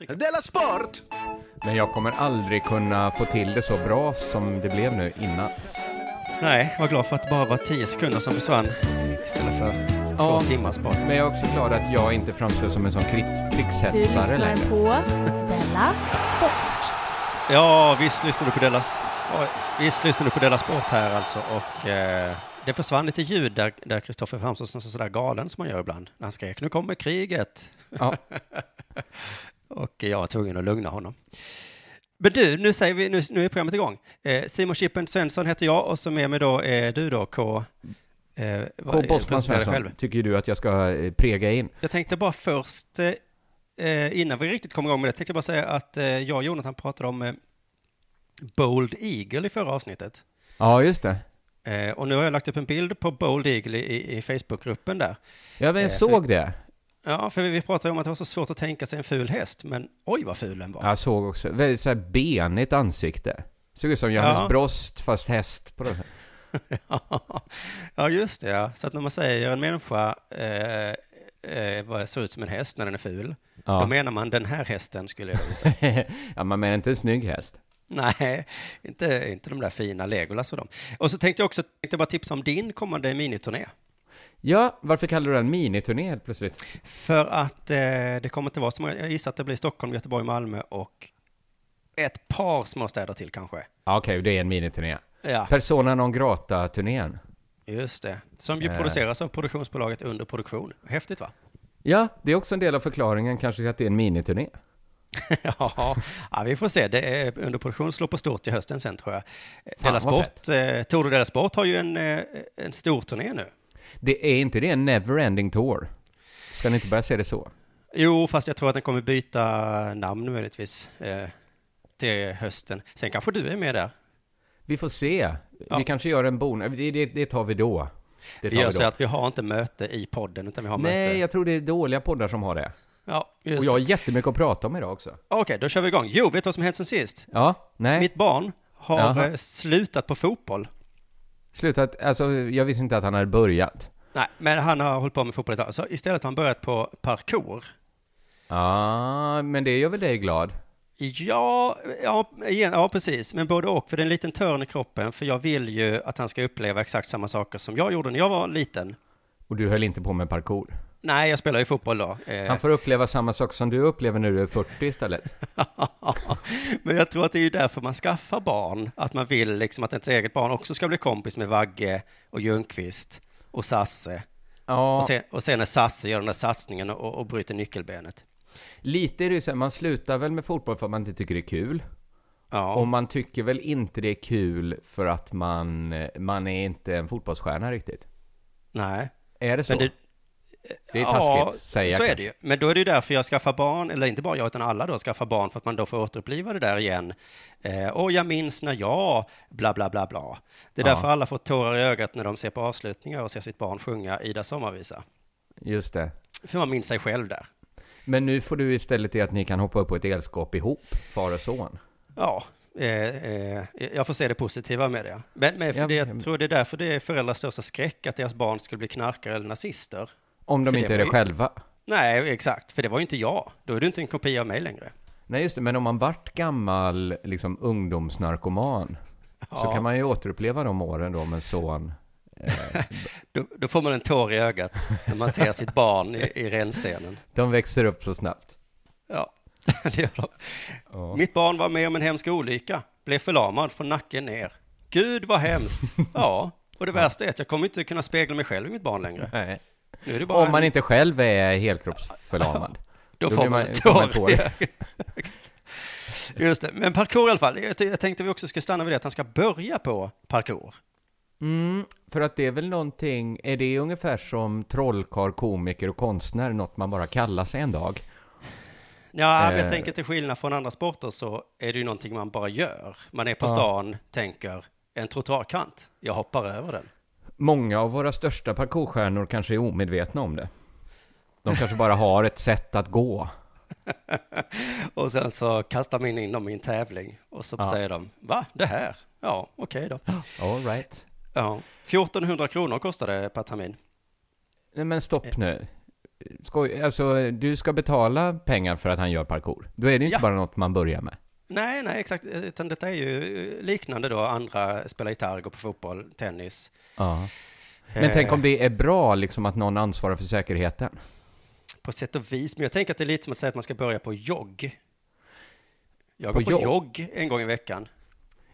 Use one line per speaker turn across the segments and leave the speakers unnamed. Della Sport!
Men jag kommer aldrig kunna få till det så bra som det blev nu innan.
Nej, var glad för att det bara var 10 sekunder som försvann istället för två
Ja.
timmars bort.
Men jag är också glad att jag inte framstår som en sån krigs-
Du
krigshetsare längre.
lyssnar på Della Sport.
Ja, visst lyssnar du på Delas, ja, visst lyssnar du på Della Sport här alltså och eh, det försvann lite ljud där- där Kristoffer framstår som sådär galen som man gör ibland när han skrek nu kommer kriget
Ja.
och jag var tvungen att lugna honom. Men du, nu, säger vi, nu, nu är programmet igång. Eh, Simon Chippen Svensson heter jag och som är med då är du då K... Eh, vad-
K.
presentera
Bosman
dig
Svensson, tycker ju du att jag ska eh, prega in.
Jag tänkte bara först, eh, eh, innan vi riktigt kom igång med det, tänkte jag bara säga att eh, jag och Jonathan pratade om eh, Bold Eagle i förra avsnittet.
Ja, just det.
Eh, och nu har jag lagt upp en bild på Bold Eagle i, i, i Facebookgruppen där.
Ja, men
Eh,
jag såg det.
Ja, för vi, vi pratade om att det var så svårt att tänka sig en ful häst, men oj vad ful den var.
Jag såg också. Väldigt så här benigt ansikte. Såg ut som Johannes
Ja.
Brost, fast häst på något sätt.
ja, just det. Ja. Så att när man säger en människa eh, eh, vad ser ut som en häst när den är ful, då
Ja.
menar man den här hästen skulle jag vilja säga.
ja, man menar inte en snygg häst.
Nej, inte, inte de där fina Legolas och dem. Och så tänkte jag också, tänkte bara tipsa om din kommande miniturné.
Ja, varför kallar du den miniturné helt plötsligt?
För att eh, det kommer inte vara så många, jag gissar att det blir Stockholm, Göteborg, Malmö och ett par små städer till kanske.
Ja, Okej, det är en miniturné.
Ja,
Persona non grata-turnén.
just det. Som ju
Eh.
produceras av produktionsbolaget Under Produktion. Häftigt va?
Ja, det är också en del av förklaringen kanske till att det är en miniturné.
ja, ja, vi får se. Det är, under Produktion slår på stort i hösten sen tror jag.
Fan,
Della
vad
Sport, eh, Tour de Della Sport har ju en, eh, en stor turné nu.
Det är inte det, en never-ending tour. Ska ni inte börja se det så?
Jo, fast jag tror att den kommer byta namn möjligtvis eh, till hösten. Sen kanske du är med där.
Vi får se.
Ja.
Vi kanske gör en bonus. Det, det, det tar vi då. Det
Vi
tar
gör
vi
så
då.
att vi har inte möte i podden, utan vi har möte.
Nej, jag tror det är dåliga poddar som har det.
Ja,
Och
just
jag har
det.
jättemycket att prata om idag också.
Okej, då kör vi igång. Jo, vet du vad som hänt sen sist?
Ja, nej.
Mitt barn har
Jaha.
eh, slutat på fotboll.
Slutat, alltså jag visste inte att han hade börjat.
Nej, men han har hållit på med fotboll ett tag. Så istället har han börjat på parkour.
Ja, men det gör väl dig glad?
Ja, ja, igen, ja, precis. Men både och, för det är en liten törn i kroppen. För jag vill ju att han ska uppleva exakt samma saker som jag gjorde när jag var liten.
Och du höll inte på med parkour.
Nej, jag spelar ju fotboll då. Eh,
Han får uppleva samma sak som du upplever när du är 40 istället.
Men jag tror att det är ju därför man skaffar barn, att man vill liksom att ens eget barn också ska bli kompis med Vagge och Ljungqvist och Sasse.
Ja,
Och, sen, och sen när Sasse gör den där satsningen och, och bryter nyckelbenet.
lite är det ju så här, man slutar väl med fotboll för att man inte tycker det är kul.
Ja,
Och man tycker väl inte det är kul för att man, man är inte en fotbollsstjärna riktigt.
nej.
Är det så?
Men det-
Det, är taskigt, säger jag.
så är det
kanske.
ju. Men då är det ju därför jag skaffar barn, eller inte bara jag, utan alla då skaffar barn, för att man då får återuppliva det där igen. Eh, och jag minns när jag, bla, bla, bla, bla. Det är
Ja.
därför alla får tårar i ögat när de ser på avslutningar och ser sitt barn sjunga Ida sommarvisa.
Just det.
För man minns sig själv där.
Men nu får du istället det att ni kan hoppa upp på ett elskåp ihop, far och son.
Ja, eh, eh, jag får se det positiva med det. Men, men för
Ja,
det,
men-
jag tror det är därför det är föräldrars största skräck att deras barn skulle bli knarkare eller nazister.
Om de
För det
inte är
var
det
ju-
själva.
Nej, exakt, för det var ju inte jag. Då är du inte en kopia av mig längre.
Nej, just det. Men om man vart gammal liksom, ungdomsnarkoman så kan man ju återuppleva de åren då med son.
Då, då får man en tår i ögat när man ser sitt barn i, i renstenen.
De växer upp så snabbt.
Ja, det gör de. Mitt barn var med om en hemsk olycka, blev förlamad från nacken ner. Gud vad hemskt. Ja, och det värsta är att jag kommer inte kunna spegla mig själv i mitt barn längre.
Nej.
Nu är det bara
Om man inte själv är helkroppsförlamad.
Då,
Då
får
blir
man
man-
en
får man
tår
tår.
i ögat. Just det, men parkour i alla fall. Jag, jag tänkte vi också skulle stanna vid det att han ska börja på parkour.
Mm, för att det är väl någonting, är det ungefär som trollkarl, komiker och konstnär, något man bara kallar sig en dag?
Ja, men jag
Eh.
tänker till skillnad från andra sporter så är det ju någonting man bara gör. Man är på
Ja.
stan, tänker en trottoarkant, jag hoppar över den.
Många av våra största parkourstjärnor kanske är omedvetna om det. De kanske bara har ett sätt att gå.
Och sen så kastar man in dem i en tävling och så säger de, va, det här? Ja, okej då.
All right.
Ja. 1400 kronor kostade per termin.
Nej men stopp nu. skoj, alltså, du ska betala pengar för att han gör parkour. Då är det inte
Ja.
bara något man börjar med.
Nej, nej, exakt. Eh, Utan detta är ju eh, liknande då andra spelar gitarr, går på fotboll, tennis.
Ja. Men
Eh.
tänk om det är bra liksom att någon ansvarar för säkerheten.
På sätt och vis, men jag tänker att det är lite som att säga att man ska börja på jogg. Jag
På
går på,
jogg?
jogg. en gång i veckan.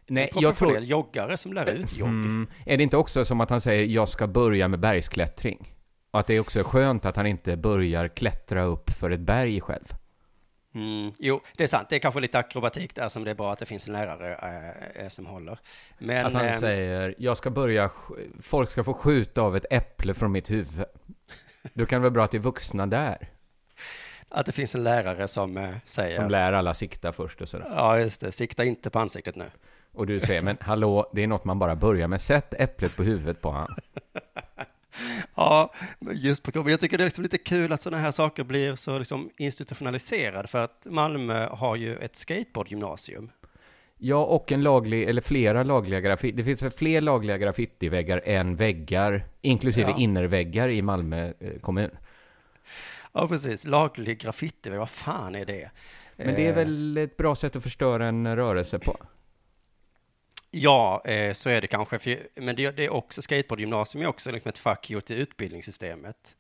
Nej,
en
jag tror...
professionell joggare som lär ut jogg.
Mm, är det inte också som att han säger jag ska börja med bergsklättring? Och att det är också skönt att han inte börjar klättra upp för ett berg själv.
Mm, jo, det är sant. Det är kanske lite akrobatik där som det är bra att det finns en lärare eh, eh, som håller. Men,
Att han
eh,
säger jag ska börja, sk- folk ska få skjuta av ett äpple från mitt huvud. Då kan det vara bra att det är vuxna där
att det finns en lärare som eh, säger...
som lär alla sikta först och sådär.
ja, just det. Sikta inte på ansiktet nu.
Och du säger men hallå, det är något man bara börjar med. Sätt äpplet på huvudet på han.
Ja, men just på kroppen. Jag tycker det är liksom lite kul att sådana här saker blir så liksom institutionaliserade för att Malmö har ju ett skateboardgymnasium.
Ja, och en laglig, eller flera lagliga graffiti. Det finns väl fler lagliga graffitiväggar än väggar, inklusive
Ja.
innerväggar i Malmö eh, kommun.
Ja, precis. Laglig graffiti, vad fan är det?
Men det är
Eh,
väl ett bra sätt att förstöra en rörelse på?
Ja, eh, så är det kanske. För- Men det, det är också, skateboardgymnasium är också liksom ett fuck you till utbildningssystemet.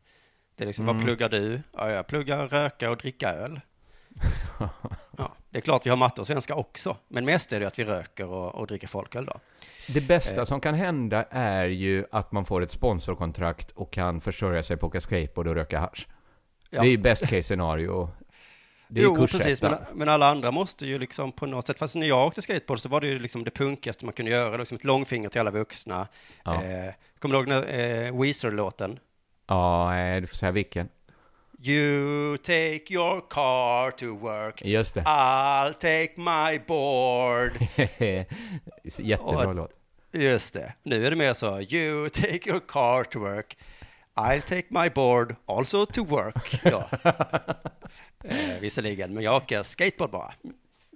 Det är liksom, vad
Mm.
pluggar du? Ja, jag pluggar röka och dricka öl. Ja, det är klart vi har matte och svenska också, men mest är det att vi röker och, och dricker folköl då.
Det
Eh.
bästa som kan hända är ju att man får ett sponsorkontrakt och kan försörja sig på att åka skateboard och röka hasch.
Ja.
Det är ju best case scenario. Det är
jo,
ju
precis,
kursrätten.
men, men alla andra måste ju liksom på något sätt, fast när jag åkte skateboard så var det ju liksom det punkigaste man kunde göra, liksom ett långfinger till alla vuxna.
Ja.
Eh, kommer du ihåg när, eh, Weezer-låten?
Ja, nej, du får säga vilken.
You take your car to work,
Just det.
I'll take my board.
Jättebra
Och-
låt.
Just det, nu är det mer så, you take your car to work, I'll take my board also to work. Ja. eh, visserligen, men jag åker skateboard bara.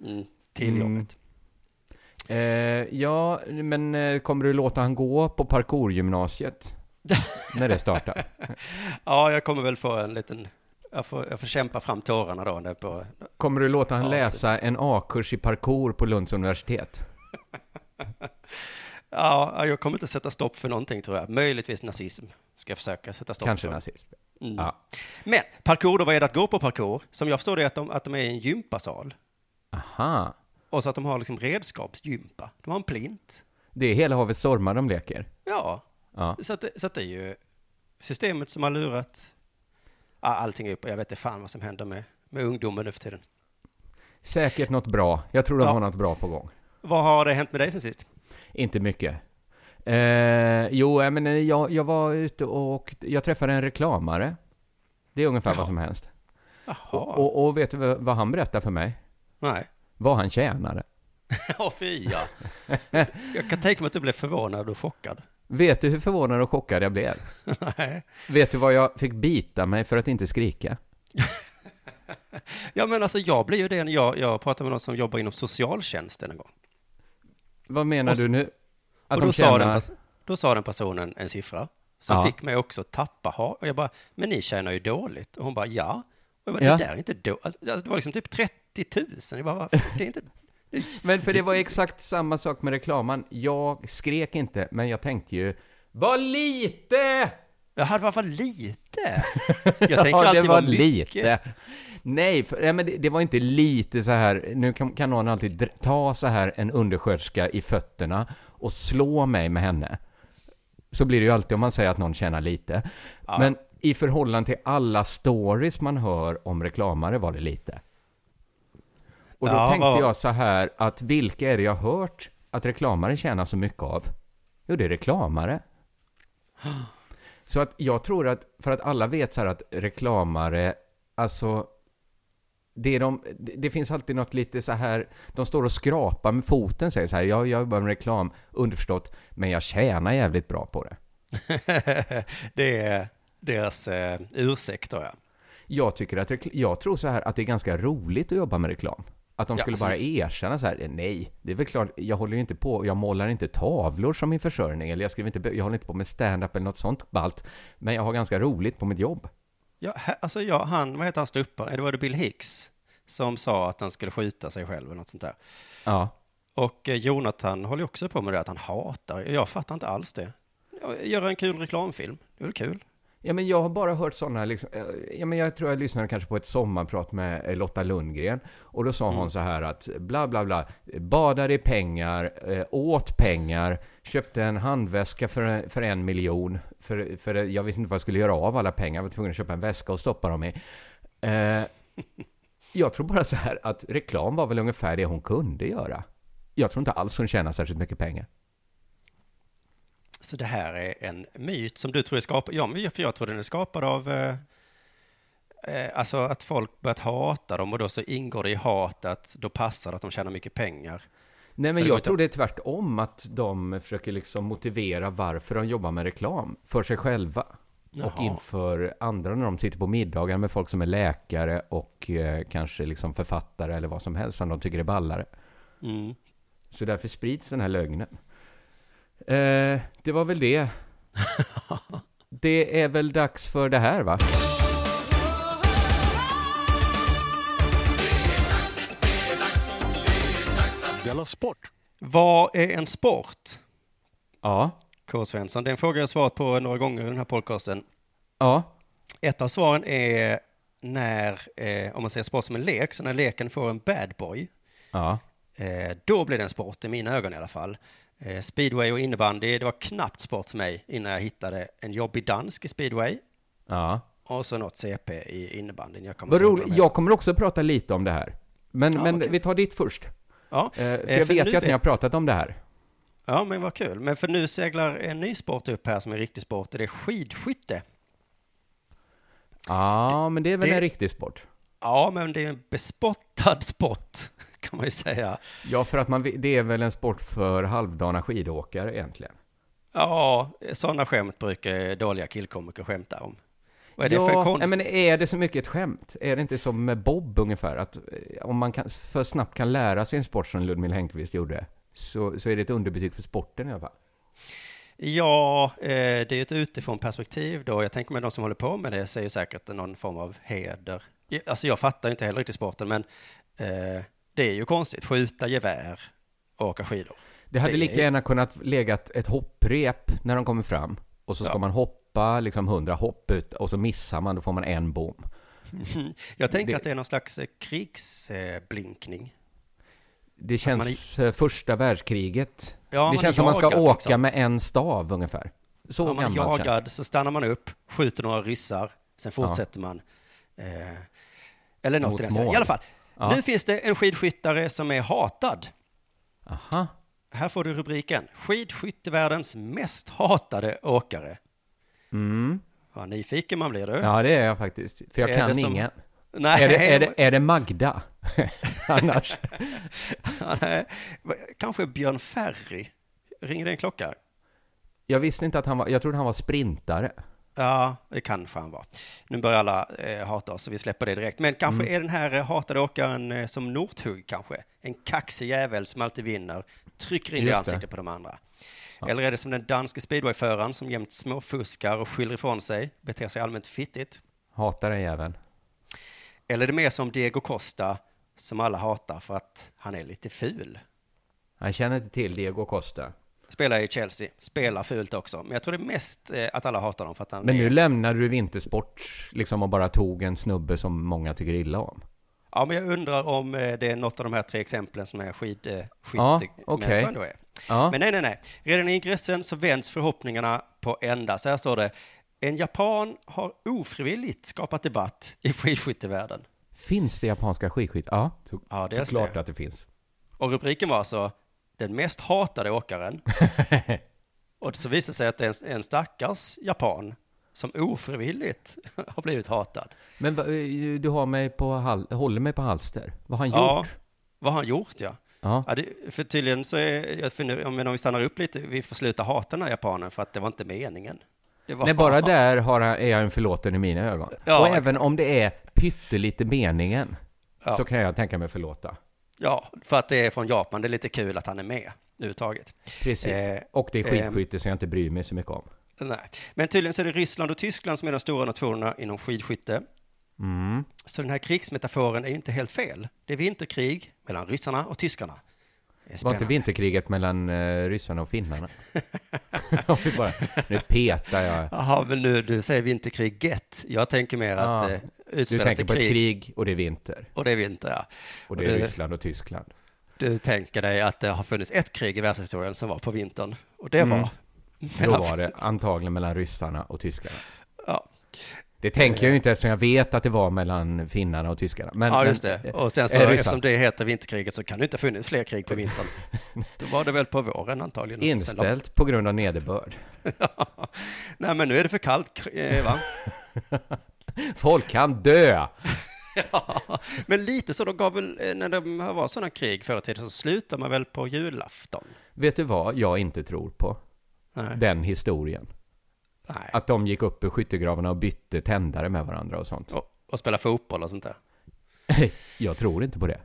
Mm, till jobbet.
Eh, ja, men eh, kommer du låta han gå på parkourgymnasiet? när det startar?
Ja, jag kommer väl få en liten... Jag får, jag får kämpa fram tårarna då. Där på,
Kommer du låta han
Ja,
läsa en A-kurs i parkour på Lunds universitet?
ja, jag kommer inte sätta stopp för någonting tror jag. Möjligtvis nazism ska jag försöka sätta stopp
Kanske
för.
nazism.
Mm.
Ja.
Men parkour då, vad är det att gå på parkour? Som jag förstår det är att de, att de är i en gympasal.
Aha.
Och så att de har liksom redskapsgympa. De har en plint.
Det är hela havet stormar de leker.
Ja,
Ja.
så, att, det- så att det är ju systemet som har lurat ja, allting upp. Jag vet inte fan vad som händer med, med ungdomen nu för tiden.
Säkert något bra. Jag tror de
Ja.
har något bra på gång.
Vad har det hänt med dig sen sist?
Inte mycket. Eh, jo, äh, men eh, jag, jag var ute och jag träffade en reklamare. Det är ungefär vad som helst.
Jaha,
Och, och, och vet du vad- vad han berättade för mig?
nej.
Vad han tjänade.
Ja, fy ja. Jag kan tänka mig att du blev förvånad och chockad.
Vet du hur förvånad och chockad jag blev?
Nej.
Vet du vad jag fick bita mig för att inte skrika?
Ja, men alltså jag blir ju det när jag, jag pratade med någon som jobbar inom socialtjänsten en gång.
Vad menar
Och så-
du nu? Att
och
de
då, sa den,
tjänar...
pers- då sa den personen en siffra som
Ja.
fick mig också tappa ha. Och jag bara, men ni tjänar ju dåligt. Och hon bara, ja. Och jag bara,
Ja.
det där är inte dåligt. Alltså, det var liksom typ 30 000. Jag bara, "Vad fan, det är inte... Det är ju
Men för det var exakt samma sak med reklamen. Jag skrek inte, men jag tänkte ju... Vad lite!
Jag hade i alla fall lite. Jag tänker
ja,
alltid
det var
vad mycket.
lite. Nej, för, nej men det, det var inte lite så här. Nu kan, kan någon alltid dr- ta så här en undersköterska i fötterna och slå mig med henne. Så blir det ju alltid om man säger att någon tjänar lite. Men i förhållande till alla stories man hör om reklamare var det lite. Och då
Ja,
tänkte
vad-
jag så här att vilka är det jag hört att reklamare tjänar så mycket av? Jo, det är reklamare. Så att jag tror att, för att alla vet så här att reklamare, alltså, det, är de, det det finns alltid något lite så här, de står och skrapar med foten säger så här, jag jobbar med reklam, underförstått, men jag tjänar jävligt bra på det.
det är deras eh, ursäkt då, ja.
Jag, tycker att rekl- jag tror så här att det är ganska roligt att jobba med reklam. Att de
Ja,
skulle
alltså-
bara erkänna så här, nej, det är väl klart, jag håller ju inte på, jag målar inte tavlor som min försörjning, eller jag skriver inte, bö- jag håller inte på med stand-up eller något sånt ballt, men jag har ganska roligt på mitt jobb.
Ja, he- alltså ja, han, vad heter han ståupparen? Det var det Bill Hicks som sa att han skulle skjuta sig själv eller något sånt där.
Ja.
Och eh, Jonathan håller ju också på med det att han hatar, jag fattar inte alls det. Ja, Göra en kul reklamfilm, det är väl kul?
Ja, men jag har bara hört sådana, liksom, eh, ja, men jag tror jag lyssnade kanske på ett sommarprat med eh, Lotta Lundgren. Och då sa hon så här att bla bla bla, eh, badade i pengar, eh, åt pengar, köpte en handväska för, för en miljon. För, för eh, jag visste inte vad jag skulle göra av alla pengar, jag var tvungen att köpa en väska och stoppa dem i. Eh, jag tror bara så här att reklam var väl ungefär det hon kunde göra. Jag tror inte alls hon tjänar särskilt mycket pengar.
Så det här är en myt som du tror är skapad, ja, men jag- för jag tror den är skapad av, eh, eh, alltså att folk börjat hata dem och då så ingår det i hatet, då passar det att de tjänar mycket pengar.
Nej, men
Så det går
jag
inte-
tror det är tvärtom att de försöker liksom motivera varför de jobbar med reklam för sig själva och
Jaha.
inför andra när de sitter på middagar med folk som är läkare och eh, kanske liksom författare eller vad som helst som de tycker är ballare.
Mm.
Så därför sprids den här lögnen. Eh, det var väl det. det är väl dags för det här, va?
Della Sport!
Vad är en sport?
Ja,
K. Svensson, det är en fråga jag svarat på några gånger i den här podcasten.
ja,
Ett av svaren är när, eh, om man säger sport som en lek, så när leken får en bad boy,
ja.
eh, då blir det en sport, i mina ögon i alla fall. Eh, speedway och innebandy, det var knappt sport för mig innan jag hittade en jobbig dansk i speedway
ja.
och så något CP i innebandyn. Jag kommer
Vad
inte ihåg
roligt.
vad de
Jag kommer också prata lite om det här. Men,
Ja,
men
okej.
vi tar ditt först.
heter.
Eh, för
Eh,
jag
för
vet
nu
ju att ni
vet-
har pratat om det här.
Ja, ja, men vad kul. Men för nu seglar en ny sport upp här som är riktig sport, och det är skidskytte.
Ja, men det är väl
Eh, det-
en riktig sport?
Ja, men det är ju en bespottad sport, kan man ju säga.
Ja, för att man, vi- det är väl en sport för halvdana skidåkare egentligen?
Ja, sådana skämt brukar dåliga killkomiker skämta om. Vad är det
ja,
för konst?
nej, men är det så mycket ett skämt? Är det inte som med Bob ungefär? Att eh, om man kan, för snabbt kan lära sig en sport som Ludmilla Häggkvist gjorde, så, så är det ett underbetyg för sporten i alla fall.
Ja, eh, det är ju ett utifrån perspektiv då. Jag tänker mig de som håller på med det säger säkert någon form av heder. Ja, Alltså jag fattar ju inte heller riktigt sporten, men eh, det är ju konstigt. Skjuta gevär och åka skidor.
Det hade
Det är-
lika gärna kunnat legat ett hopprep när de kommer fram, och så ska
Ja.
man hoppa liksom hundra hopp ut, och så missar man, då får man en bom.
Jag tänker
Det-
att det är någon slags eh, krigsblinkning.
Det
man
känns eh, första världskriget.
Ja,
det
man
känns
är
som man ska
jagad,
åka
liksom.
med en stav ungefär. Så
Om man
gammal
är
känns det.
jagad så stannar man upp, skjuter några ryssar, sen fortsätter man. Eh, eller något
Mot
i den stilen.
mål.
I alla fall,
Ja.
nu finns det en skidskyttare som är hatad.
Aha.
Här får du rubriken. Skidskyttevärldens mest hatade åkare.
Mm.
Vad nyfiken man blir du.
Ja, det är jag faktiskt. För jag
Är
kan
det som-
ingen.
Nej,
Är det, är, det, är det Magda? Annars?
nej. kanske Björn Ferry. Ringer det en klocka?
Jag visste inte att han var... Jag trodde han var sprintare.
Ja, det kanske han var. Nu börjar alla eh, hata oss, så vi släpper det direkt. Men kanske
Mm.
är den här eh, hatade åkaren eh, som Northug kanske. En kaxig jävel som alltid vinner, trycker in det i
Just
ansiktet på de andra. Eller är det som den danske speedwayföraren som jämt småfuskar och skyller ifrån sig, beter sig allmänt fittigt?
Hatar den jäveln.
Eller är det mer som Diego Costa, som alla hatar för att han är lite ful?
Han känner inte till Diego Costa.
Spelar i Chelsea, spelar fult också. Men jag tror det är mest eh, att alla hatar honom för att han
Men
är...
nu lämnade du vintersport liksom och bara tog en snubbe som många tycker illa om.
Ja, men jag undrar om eh, det är något av de här tre exemplen som är skid, eh,
Ja,
skytte-
okej.
människan då är.
Ja.
Men nej, nej, nej. Redan i ingressen så vänds förhoppningarna på ända. Så här står det. En japan har ofrivilligt skapat debatt i skidskyttevärlden.
Finns det japanska skidskytt? Ja, så,
Ja, det är
såklart
det.
att det finns.
Och rubriken var alltså den mest hatade åkaren. och så visade det sig att det är en, en stackars japan som ofrivilligt har blivit hatad.
Men va- eh, du har mig på hal- håller mig på halster. Vad har han
Ja,
gjort?
vad har han gjort ja?
Ja.
ja det, för tydligen så är, jag funderar, om, men om vi stannar upp lite, vi får sluta hata den här japanen för att det var inte meningen. Det var,
Nej, bara där har han, är jag en förlåten i mina ögon.
Ja,
och
exakt.
även om det är pyttelite meningen,
Ja.
så kan jag tänka mig förlåta.
Ja, för att det är från Japan, det är lite kul att han är med överhuvudtaget.
Precis.
Eh,
och det är
ehm.
skidskytte som jag inte bryr mig så mycket om.
Nej. Men tydligen så är det Ryssland och Tyskland som är de stora nationerna inom skidskytte.
Mm.
Så den här krigsmetaforen är ju inte helt fel. Det är vinterkrig mellan ryssarna och tyskarna. Det är
Var inte
spännande.
vinterkriget mellan eh, ryssarna och finnarna? Om vi bara, nu petar jag.
Jaha, men nu du säger vinterkriget. Jag tänker mer
Ja.
att eh,
Du
utspelas
tänker
det
på ett
krig,
krig och det är vinter.
och det är vinter, ja.
Och det är
Det-
Ryssland och Tyskland.
Du tänker dig att det har funnits ett krig i världshistorien som var på vintern, och det
Mm.
var...
Då var det antagligen mellan ryssarna och tyskarna.
Ja,
Det tänker jag ju inte eftersom jag vet att det var mellan finnarna och tyskarna. Men,
Eh. ja, just
men,
det.
eh,
Och sen så,
eh, ryssarna.
eftersom det heter vinterkriget så kan det inte ha funnits fler krig på vintern. Då var det väl på våren antagligen. Sen
Inställt på grund av nederbörd.
då- Nej, men nu är det för kallt, eh, va?
Folk kan dö!
Ja, men lite så, de gav väl, eh, när det var sådana krig förr i tiden så slutar man väl på julafton?
Vet du vad jag inte tror på?
Nej.
Den historien.
Nej.
Att de gick upp ur skyttegravarna och bytte tändare med varandra och sånt.
Och, och spela fotboll och sånt där?
Jag tror inte på det.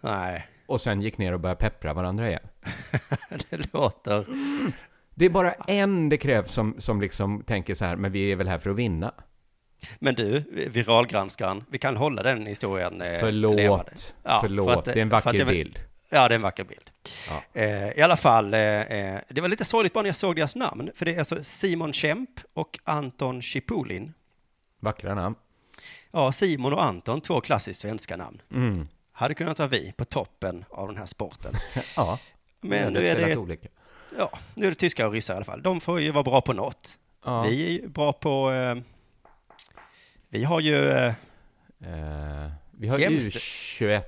Nej,
Och sen gick ner och började peppra varandra igen.
det låter...
Det är bara en det krävs som, som liksom tänker så här, men vi är väl här för att vinna.
Eh, Men du, viralgranskaren, vi kan hålla den historien eh, levande.
Förlåt,
Ja, för
förlåt,
att det-
det är en
för att
vacker
det var-
bild.
Ja, det är en vacker bild.
Ja.
Eh, I alla fall, eh, eh, det var lite sorgligt bara när jag såg deras namn, för det är alltså Simon Kemp och Anton Chipolin.
Vackra namn.
Ja, Simon och Anton, två klassiskt svenska namn.
Mm.
Hade kunnat vara vi på toppen av den här sporten.
Ja,
Men
hade
nu är
spelat
det,
olika.
ja, nu är det tyskar och ryssar i alla fall. De får ju vara bra på något.
Ja.
Vi är ju bra på, eh, vi har ju, eh,
Eh, vi har
Jämst-
U21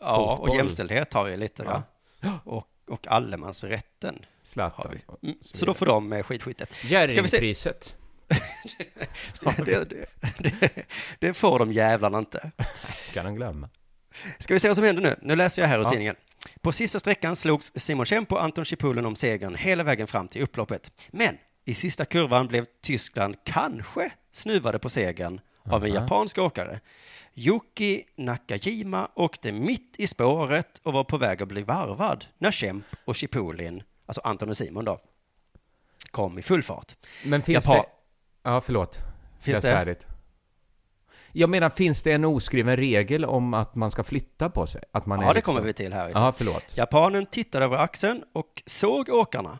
ja,
Fotboll.
och jämställdhet har vi lite,
Ja.
ja. Och, och allemansrätten har
Zlatan.
vi. Mm, så då får de eh, skidskytte.
Jerringpriset.
Det, det, det, det får de jävlarna inte.
Kan han glömma.
Ska vi se vad som händer nu? Nu läser jag här ur
Ja.
tidningen. På sista sträckan slogs Simon Kemp och Anton Chipulen om segern hela vägen fram till upploppet. Men i sista kurvan blev Tyskland kanske snuvade på segern av en
Aha.
japansk åkare. Yuki Nakajima åkte mitt i spåret och var på väg att bli varvad när Kemp och Chipulin, alltså Anton och Simon då, kom i full fart.
Men finns
Japan-
det... Ja, förlåt.
Finns
Läs
det?
Färdigt. Jag menar, finns det en oskriven regel om att man ska flytta på sig? Att man
Ja,
är
det
liksom-
kommer vi till här.
Ja, förlåt.
Japanen tittade över axeln och såg åkarna.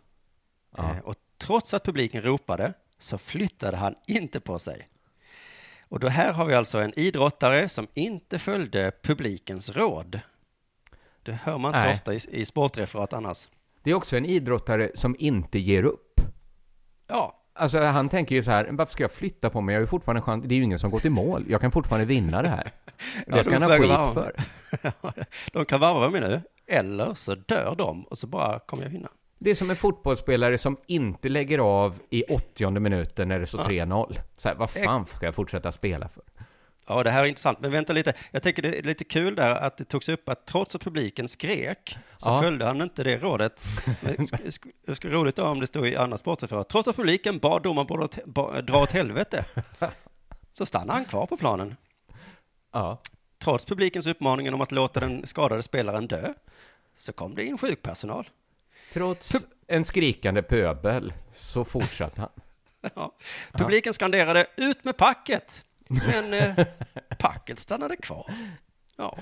Eh, Och trots att publiken ropade så flyttade han inte på sig. Och då här har vi alltså en idrottare som inte följde publikens råd. Det hör man inte
Nej.
så ofta i, i sportreferat annars.
Det är också en idrottare som inte ger upp.
Ja,
Alltså, han tänker ju så här, varför ska jag flytta på mig? Jag har ju fortfarande chans. Det är ju ingen som gått i mål. Jag kan fortfarande vinna det här.
Ja,
Det ska han
de
ha
försöker
skit
varva.
för.
de kan varva mig nu, eller så dör de och så bara kommer jag vinna.
Det är som en fotbollsspelare som inte lägger av i 80 minuten när det står 3-0. Så här, vad fan ska jag fortsätta spela för?
Ja, det här är intressant, men vänta lite. Jag tänker det är lite kul där att det togs upp att trots att publiken skrek så
Ja.
följde han inte det rådet. Men sk- sk- Det skulle vara roligt om det stod i andra sportreferat. Trots att publiken bad domaren bara åt- ba- dra åt helvete så stannade han kvar på planen.
Ja.
Trots publikens uppmaning om att låta den skadade spelaren dö så kom det in sjukpersonal.
Trots en skrikande pöbel så fortsatte han.
Ja. Publiken skanderade ut med packet, men eh, packet stannade kvar. Ja.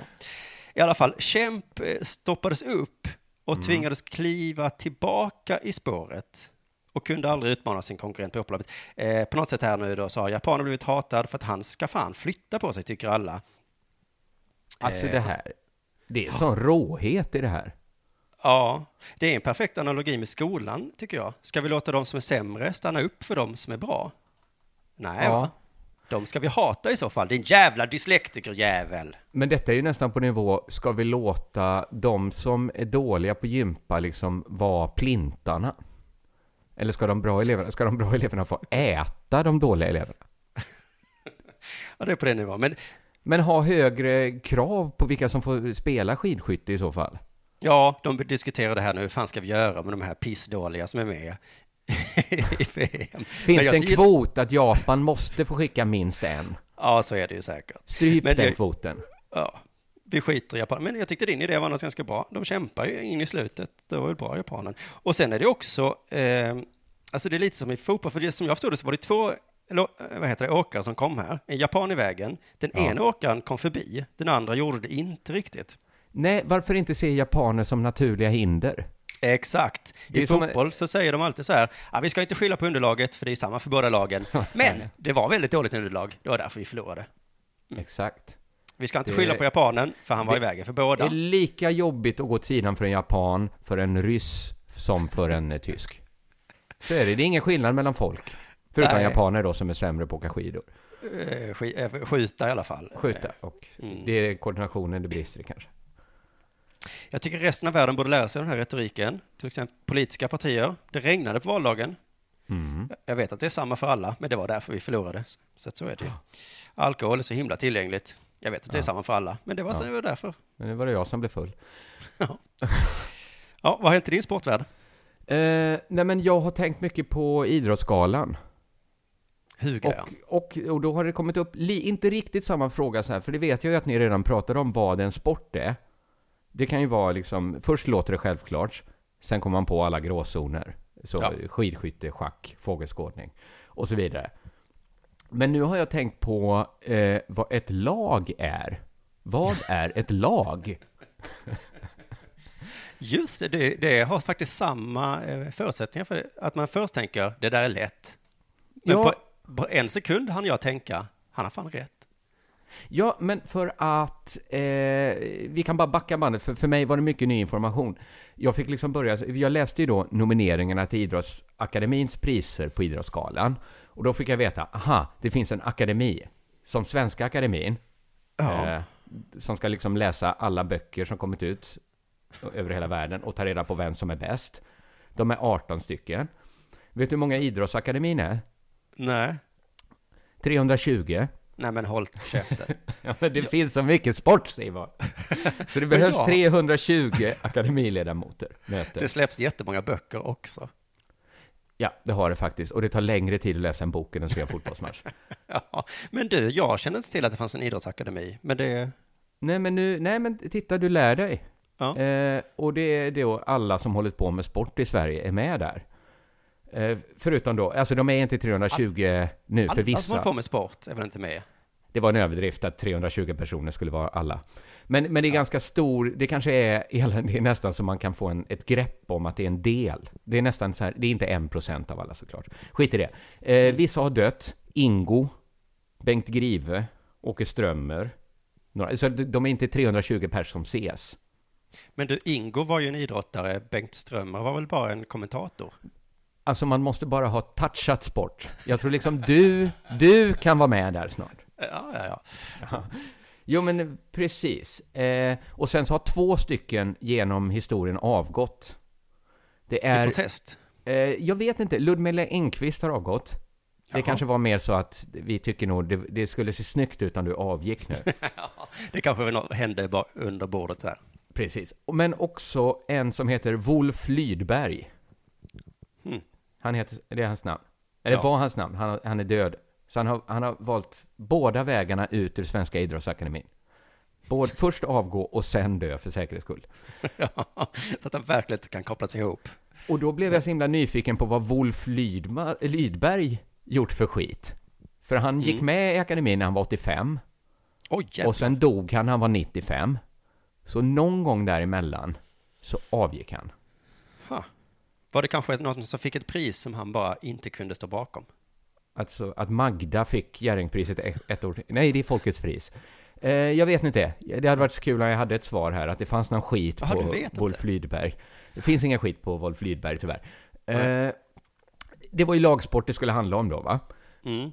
I alla fall, Kemp eh, stoppades upp och tvingades kliva tillbaka i spåret och kunde aldrig utmana sin konkurrent på upploppet. Eh, på något sätt här nu då så har japanen blivit hatad för att han ska fan flytta på sig, tycker alla.
Alltså
Eh.
det här, det är sån råhet i det här.
Ja, det är en perfekt analogi med skolan, tycker jag. Ska vi låta de som är sämre stanna upp för de som är bra? Nej,
Ja.
va? De ska vi hata i så fall, din jävla dyslektikerjävel.
Men detta är ju nästan på nivå, ska vi låta de som är dåliga på gympa liksom vara plintarna? Eller ska de bra eleverna, ska de bra eleverna få äta de dåliga eleverna?
Ja, det är på den nivån. Men
Men ha högre krav på vilka som får spela skidskytte i så fall.
ja, de diskuterar det här nu, hur fan ska vi göra med de här pissdåliga som är med i VM?
Finns det en
gill-
kvot att Japan måste få skicka minst en?
Ja, så är det ju säkert.
Stryp
Men
den
jag-
kvoten.
Ja, vi skiter i Japan. Men jag tyckte din idé var annars ganska bra. De kämpar ju in i slutet. Det var väl bra, japanen. Och sen är det också eh, Alltså det är lite som i fotboll, för det, som jag förstod det så var det två eller, eh, vad heter det, åkare som kom här. En japan i vägen. Den
Ja.
ena åkaren kom förbi, den andra gjorde det inte riktigt.
Nej, varför inte se japaner som naturliga hinder?
Mm. Exakt.
Det är
I
som-
fotboll så säger de alltid så här, ah, vi ska inte skylla på underlaget för det är samma för båda lagen. Men det var väldigt dåligt underlag, det var därför vi förlorade.
Exakt.
Vi ska inte
Det-
skylla på japanen, för han var
det-
i vägen för
Det
båda.
är lika jobbigt att gå åt sidan för en japan, för en ryss, som för en eh, tysk. Så är det, det är ingen skillnad mellan folk. Förutom
Nej.
japaner då som är sämre på att åka skidor.
Eh, sk- eh, Skjuta i alla fall.
Skjuta och
Mm.
det är koordinationen det brister i kanske.
Jag tycker resten av världen borde lära sig den här retoriken. Till exempel politiska partier. Det regnade på valdagen.
Mm.
Jag vet att det är samma för alla, men det var därför vi förlorade. Så att så är det ju. Alkohol är så himla tillgängligt. Jag vet att det är samma för alla, men det var, så, det var därför.
Men nu var det jag som blev full.
Ja, vad har hänt i din sportvärld?
Eh, nej men jag har tänkt mycket på Idrottsgalan.
Hugo, ja.
Och, och, och då har det kommit upp, li, inte riktigt samma fråga så här, för det vet jag ju att ni redan pratade om vad en sport är. Det kan ju vara liksom, först låter det självklart, sen kommer man på alla gråzoner. Så
Ja.
skidskytte, schack, fågelskådning och så vidare. Men nu har jag tänkt på eh, vad ett lag är. Vad är ett lag?
Just det, det, det har faktiskt samma eh, förutsättningar för det. Att man först tänker, det där är lätt. Men
Ja.
på, på en sekund hann jag tänka, han har fan rätt.
Ja, men för att eh, vi kan bara backa bandet, för, för mig var det mycket ny information. Jag fick liksom börja, jag läste ju då nomineringarna till Idrottsakademins priser på Idrottsgalan. Och då fick jag veta, aha, det finns en akademi, som Svenska Akademin, eh, som ska liksom läsa alla böcker som kommit ut över hela världen och ta reda på vem som är bäst. De är 18 stycken. Vet du hur många Idrottsakademin är?
Nej.
320.
Nej men håll käften.
Ja, men det finns så mycket sport, Simon. Så det behövs
Ja.
320 akademiledamoter.
Det
Möter.
släpps jättemånga böcker också.
Ja, det har det faktiskt. Och det tar längre tid att läsa en bok än att se en fotbollsmatch.
Ja. Men du, jag kände inte till att det fanns en idrottsakademi, men det...
nej, men nu, nej, men titta, du lär dig.
Ja.
Eh, och det är då alla som hållit på med sport i Sverige är med där. Eh, förutom då, alltså de är inte 320 nu, för
Alla som håller på
vissa.
med sport är väl inte med?
Det var en överdrift att 320 personer skulle vara alla. Men, men det är ganska stor, det kanske är, det är nästan så man kan få en, ett grepp om att det är en del. Det är nästan så här, det är inte en procent av alla såklart. Skit i det. Eh, vissa har dött, Ingo, Bengt Grive, Åke Strömmer. Några, så de de är inte 320 pers som ses.
Men du, Ingo var ju en idrottare, Bengt Strömmer var väl bara en kommentator?
Alltså man måste bara ha touchat sport. Jag tror liksom du, du kan vara med där snart.
Ja, ja, ja.
Jo, men precis. Eh, och sen så har två stycken genom historien avgått. Det
I
är...
protest.
Eh, jag vet inte. Ludmilla Engqvist har avgått. Det
Jaha.
kanske var mer så att vi tycker nog det, det skulle se snyggt ut om du avgick nu.
Det kanske var något- hände bara under bordet där.
precis. Men också en som heter Wolf Lydberg.
Hmm.
Han heter, det är hans namn. Eller
Ja.
var hans namn. Han, har- han är död. Så han har, han har valt båda vägarna ut ur Svenska Idrottsakademin. Både, först avgå och sen dö för säkerhets skull.
Så att han verkligen inte kan kopplas ihop.
Och då blev jag så himla nyfiken på vad Wolf Lydma, Lydberg gjort för skit. För han gick
Mm.
med i akademin när han var 85
Oj,
och sen dog han när han var 95. Så någon gång däremellan så avgick han.
jävlar. Var det kanske någon som fick ett pris som han bara inte kunde stå bakom?
Alltså att Magda fick Jerringpriset ett- ett år till. Nej, det är Folkets pris. Eh, jag vet inte. Det hade varit så kul om jag hade ett svar här, att det fanns någon skit
Jaha, du
på
vet inte.
Wolf Lydberg. Det finns ingen skit på Wolf Lydberg tyvärr. Eh, det var ju lagsport det skulle handla om då, va?
Mm.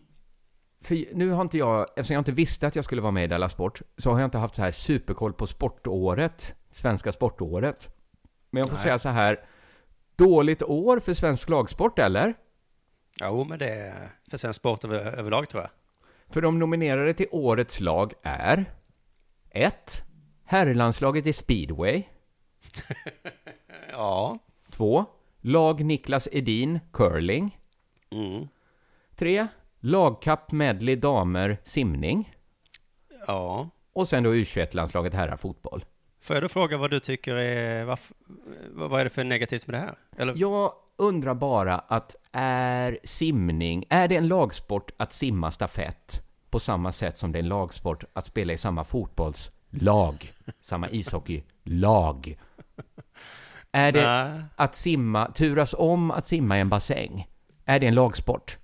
För nu har inte jag, eftersom jag inte visste att jag skulle vara med i Della Sport, så har jag inte haft så här superkoll på sportåret, svenska sportåret. Men jag får
Nej.
säga så här, dåligt år för svensk lagsport eller?
Jo, men det är för svensk sport över, överlag tror jag.
För de nominerade till årets lag är 1. Herrlandslaget i speedway.
Ja.
2. Lag Niklas Edin, curling.
Mm.
3. Lagkapp medley damer, simning.
Ja.
Och sen då U21-landslaget herrar, fotboll.
Får jag då fråga vad du tycker är, varf- vad, vad är det för negativt med det här? Eller,
Ja, undrar bara att är simning, är det en lagsport att simma stafett på samma sätt som det är en lagsport att spela i samma fotbollslag, samma ishockeylag? Är det
Nej.
att simma, turas om att simma i en bassäng? Är det en lagsport?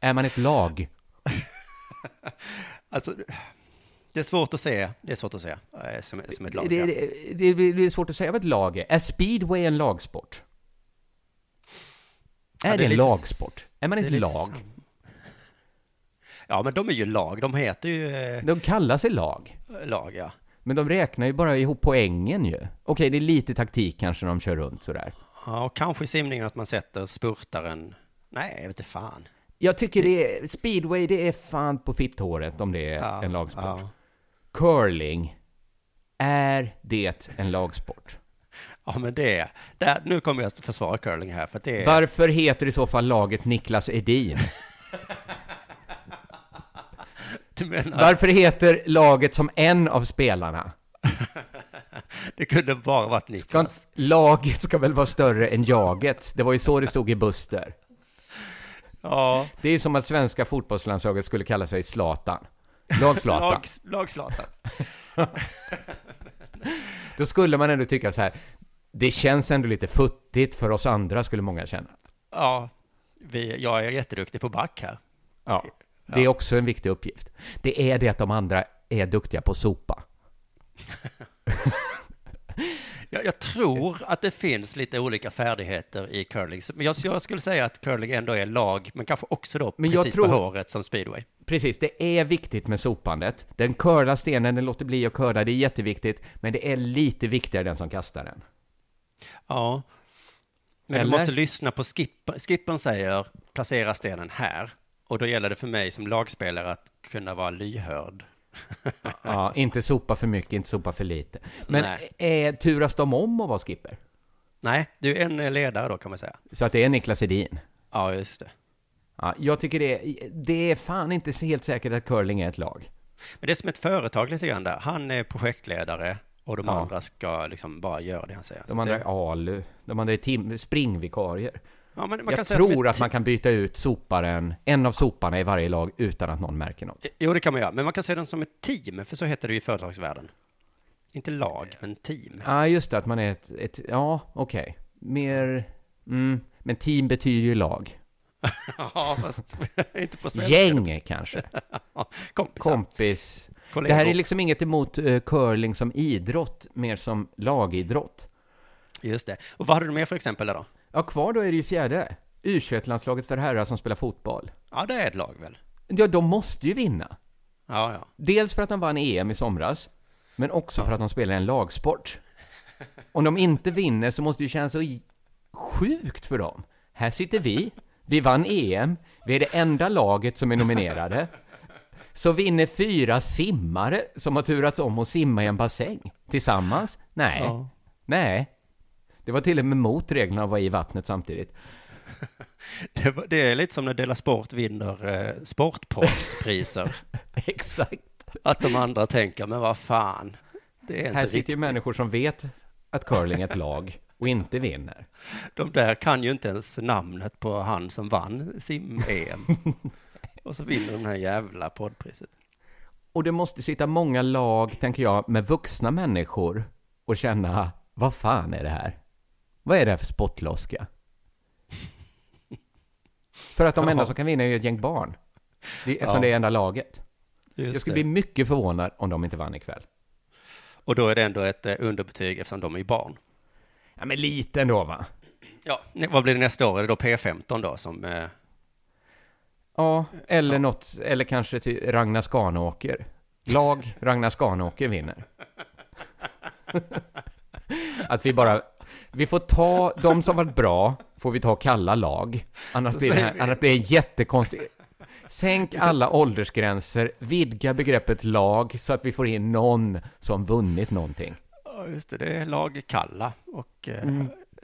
Är man ett lag?
Alltså, det är svårt att se. Det är svårt att se eh, som, som ett lag.
Det,
ja.
det, det, det är svårt att säga vad ett lag är. Är speedway en lagsport? Är
Ja,
det,
är
en
lite
lagsport?
s-
Är man
det är
ett
lite
lag?
sam- Ja, men de är ju lag. De heter ju eh,
De kallar sig lag.
lag, ja.
Men de räknar ju bara ihop poängen ju. Okej, det är lite taktik kanske när de kör runt sådär.
ja. Och kanske i simningen att man sätter spurtaren. Nej, jag vet inte fan.
Jag tycker det är, speedway det är fan på fitthåret om det är
Ja,
en lagsport.
ja.
Curling, är det en lagsport?
Ja, men det... Där, nu kommer jag att försvara curling här, för att det är...
Varför heter i så fall laget Niklas Edin?
Du menar,
Varför heter laget som en av spelarna?
det kunde bara varit
Ska,
Niklas.
laget ska väl vara större än jaget? Det var ju så det stod i Buster.
Ja,
Det är som att svenska fotbollslandslaget skulle kalla sig Zlatan. Lag Zlatan.
lag, lagslatan.
Då skulle man ändå tycka så här. Det känns ändå lite futtigt för oss andra, skulle många känna.
Ja, vi, jag är jätteduktig på back här.
Ja. Det är också en viktig uppgift. Det är det att de andra är duktiga på att sopa.
Jag, jag tror att det finns lite olika färdigheter i curling. Så- Men jag, jag skulle säga att curling ändå är lag, men kanske också då
Men jag
precis
tror-
på håret som speedway.
Precis, det är viktigt med sopandet. Den curlar stenen, den låter bli att curla, det är jätteviktigt. Men det är lite viktigare den som kastar den.
Ja. Men
Eller?
du måste lyssna på skippen. Skippen säger placera stenen här. Och då gäller det för mig som lagspelare att kunna vara lyhörd.
Ja, inte sopa för mycket, inte sopa för lite. Men
Nej.
eh, turas de om att vara skipper?
Nej, du är en ledare då kan man säga.
Så att det är Niklas Edin?
Ja, just det.
Ja, jag tycker det, det är fan inte så helt säkert att curling är ett lag.
Men det är som ett företag lite grann där. Han är projektledare och de
Ja.
andra ska liksom bara göra det han säger.
De
Så
andra
det,
är ALU, de andra är tim- springvikarier.
ja, men man kan
Jag
säga att de är
tror att man kan byta ut soparen, en av soparna i varje lag utan att någon märker något.
Jo, det kan man göra. Men man kan se den som ett team, för så heter det ju i företagsvärlden. Inte lag, men team.
Ja, just det, att man är ett, ett ja, okej. Mer, mm, men team betyder ju lag.
Ja, fast inte på svenska.
Gäng kanske,
Ja, Kompisar.
kompis.
Kollegor.
Det här är liksom inget emot eh, curling som idrott, mer som lagidrott.
Just det. Och vad hade du mer för exempel där då?
Ja, kvar då är det ju fjärde. U21-landslaget för herrar som spelar fotboll.
Ja, det är ett lag väl?
Ja, de måste ju vinna.
Ja, ja.
Dels för att de vann EM i somras, men också för att de spelar en lagsport. Om de inte vinner så måste det ju kännas så j- sjukt för dem. Här sitter vi, vi vann EM, vi är det enda laget som är nominerade. Så vinner fyra simmare som har turats om att simma i en bassäng. Tillsammans? Nej.
Ja.
Nej. Det var till och med mot reglerna att vara i vattnet samtidigt.
Det, var- det är lite som när Dela Sport vinner eh, sportproffspriser.
Exakt.
att de andra tänker, men vad fan. Det är inte
Här
riktigt.
sitter ju människor som vet att curling är ett lag och inte vinner.
De där kan ju inte ens namnet på han som vann sim-EM. Och så vinner de det här jävla poddpriset.
Och det måste sitta många lag, tänker jag, med vuxna människor och känna, vad fan är det här? Vad är det här för spottloska? För att de enda som kan vinna är ju ett gäng barn. Det, eftersom
Ja.
det är enda laget.
Just
Jag skulle
det.
bli mycket förvånad om de inte vann ikväll.
Och då är det ändå ett eh, underbetyg eftersom de är barn.
Ja, men lite ändå va?
Ja, nej, vad blir det nästa år? Är det då P15 då som... Eh,
Ja, eller något, eller kanske till Ragnar Skanåker. Lag Ragnar Skanåker vinner. Att vi bara, vi får ta, de som varit bra får vi ta och kalla lag. Annars blir det, här, annars blir det jättekonstigt. Sänk alla åldersgränser, vidga begreppet lag så att vi får in någon som vunnit någonting.
ja, just det, det är lag Kalla och eh,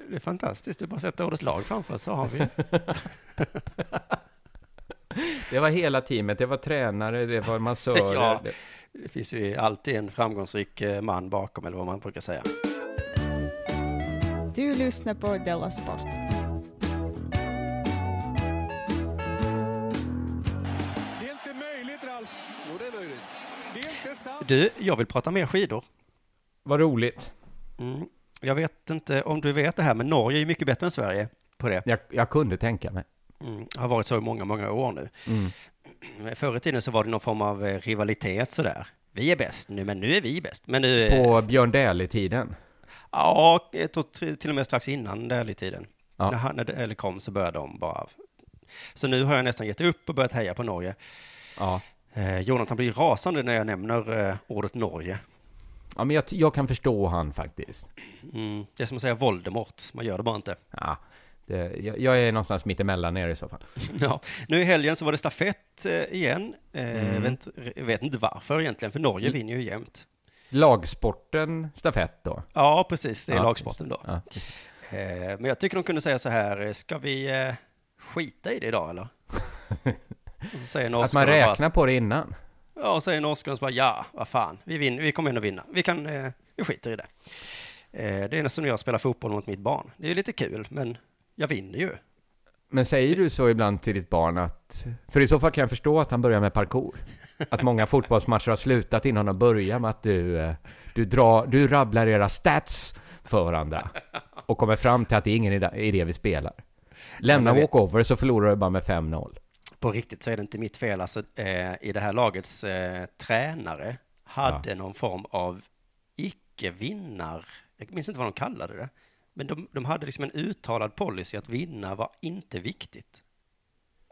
det är fantastiskt. Du bara sätter ordet lag framför så har vi...
Det var hela teamet, det var tränare, det var massörer.
Ja.
det-
Det finns ju alltid en framgångsrik eh, man bakom eller vad man brukar säga.
Du lyssnar på Della Sport.
Du, jag vill prata mer skidor.
Vad roligt.
Mm. Jag vet inte om du vet det här, men Norge är ju mycket bättre än Sverige på det.
Jag, jag kunde tänka mig.
Mm. Har varit så i många, många år nu.
Mm.
Men Förr i tiden så var det någon form av eh, rivalitet sådär. Vi är bäst nu, men nu är vi bäst. Men nu... eh,
På Björn Dählie-tiden.
Ja, jag tror tr- till och med strax innan Dählie-tiden.
Ja.
När han när Dählie kom så började de bara... Så nu har jag nästan gett upp och börjat heja på Norge.
Ja.
Eh, Jonathan blir rasande när jag nämner eh, ordet Norge.
ja, men jag, jag kan förstå han faktiskt.
Mm. Det är som att säga Voldemort, man gör det bara inte.
Ja, det, jag, jag är någonstans mittemellan er i så fall.
Ja. Nu i helgen så var det stafett eh, igen.
Mm.
Eh, jag vet, inte- jag vet inte varför egentligen, för Norge vinner ju jämt.
Lagsporten stafett då.
Ja, precis, det är
Ja,
lagsporten då.
Ja.
Eh, men jag tycker de kunde säga så här, eh, ska vi eh, skita i det idag eller? Och så säger
Att man
norskarna bara-
räknar på det innan.
Ja, och säger norskarna så bara ja, vad fan, vi, vinner, vi kommer ändå vinna. Vi kan, eh, vi skiter i det. Eh, det är som när jag spelar fotboll mot mitt barn. Det är ju lite kul, men jag vinner ju.
Men säger du så ibland till ditt barn att... För i så fall kan jag förstå att han börjar med parkour. Att många fotbollsmatcher har slutat innan de börjar med att du... eh, Du, drar, du rabblar era stats för varandra. Och kommer fram till att det är ingen idé- idé vi spelar. Lämna
Ja, men vet-
walkover så förlorar du bara med 5-0.
På riktigt så är det inte mitt fel, alltså eh, i det här lagets eh, tränare hade någon form av icke-vinnar, jag minns inte vad de kallade det, men de, de hade liksom en uttalad policy att vinna var inte viktigt.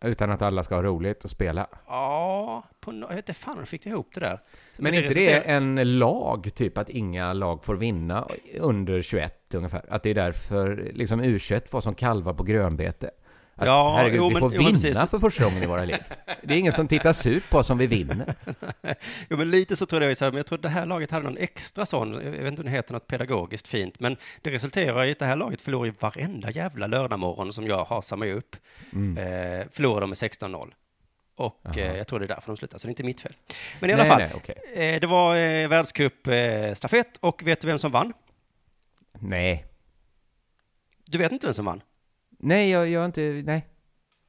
Utan att alla ska ha roligt och spela.
Ja, på no- jag vet inte fan hur de fick ihop det där.
Men är inte
resulterade-
det en lag, typ att inga lag får vinna under 21 ungefär? Att det är därför liksom U21 var som kalvar på grönbete? Att,
Ja,
herregud,
jo,
vi
men-
får
jo, men precis.
vinna för första gången i våra liv. Det är ingen som tittar surt på oss om vi vinner.
Jo, men lite så tror jag, så här, men jag tror det här laget hade någon extra sån, jag vet inte om det heter något pedagogiskt fint, men det resulterar i att det här laget förlorar ju varenda jävla lördagmorgon som jag hasar mig upp.
Mm.
Eh, förlorar de med 16-0. Och eh, jag tror det är därför de slutar, så det är inte mitt fel. Men i alla
Nej,
fall,
nej, okej.
eh, det var eh, världscupstafett eh, och vet du vem som vann?
Nej.
Du vet inte vem som vann?
Nej, jag, jag har inte... Nej.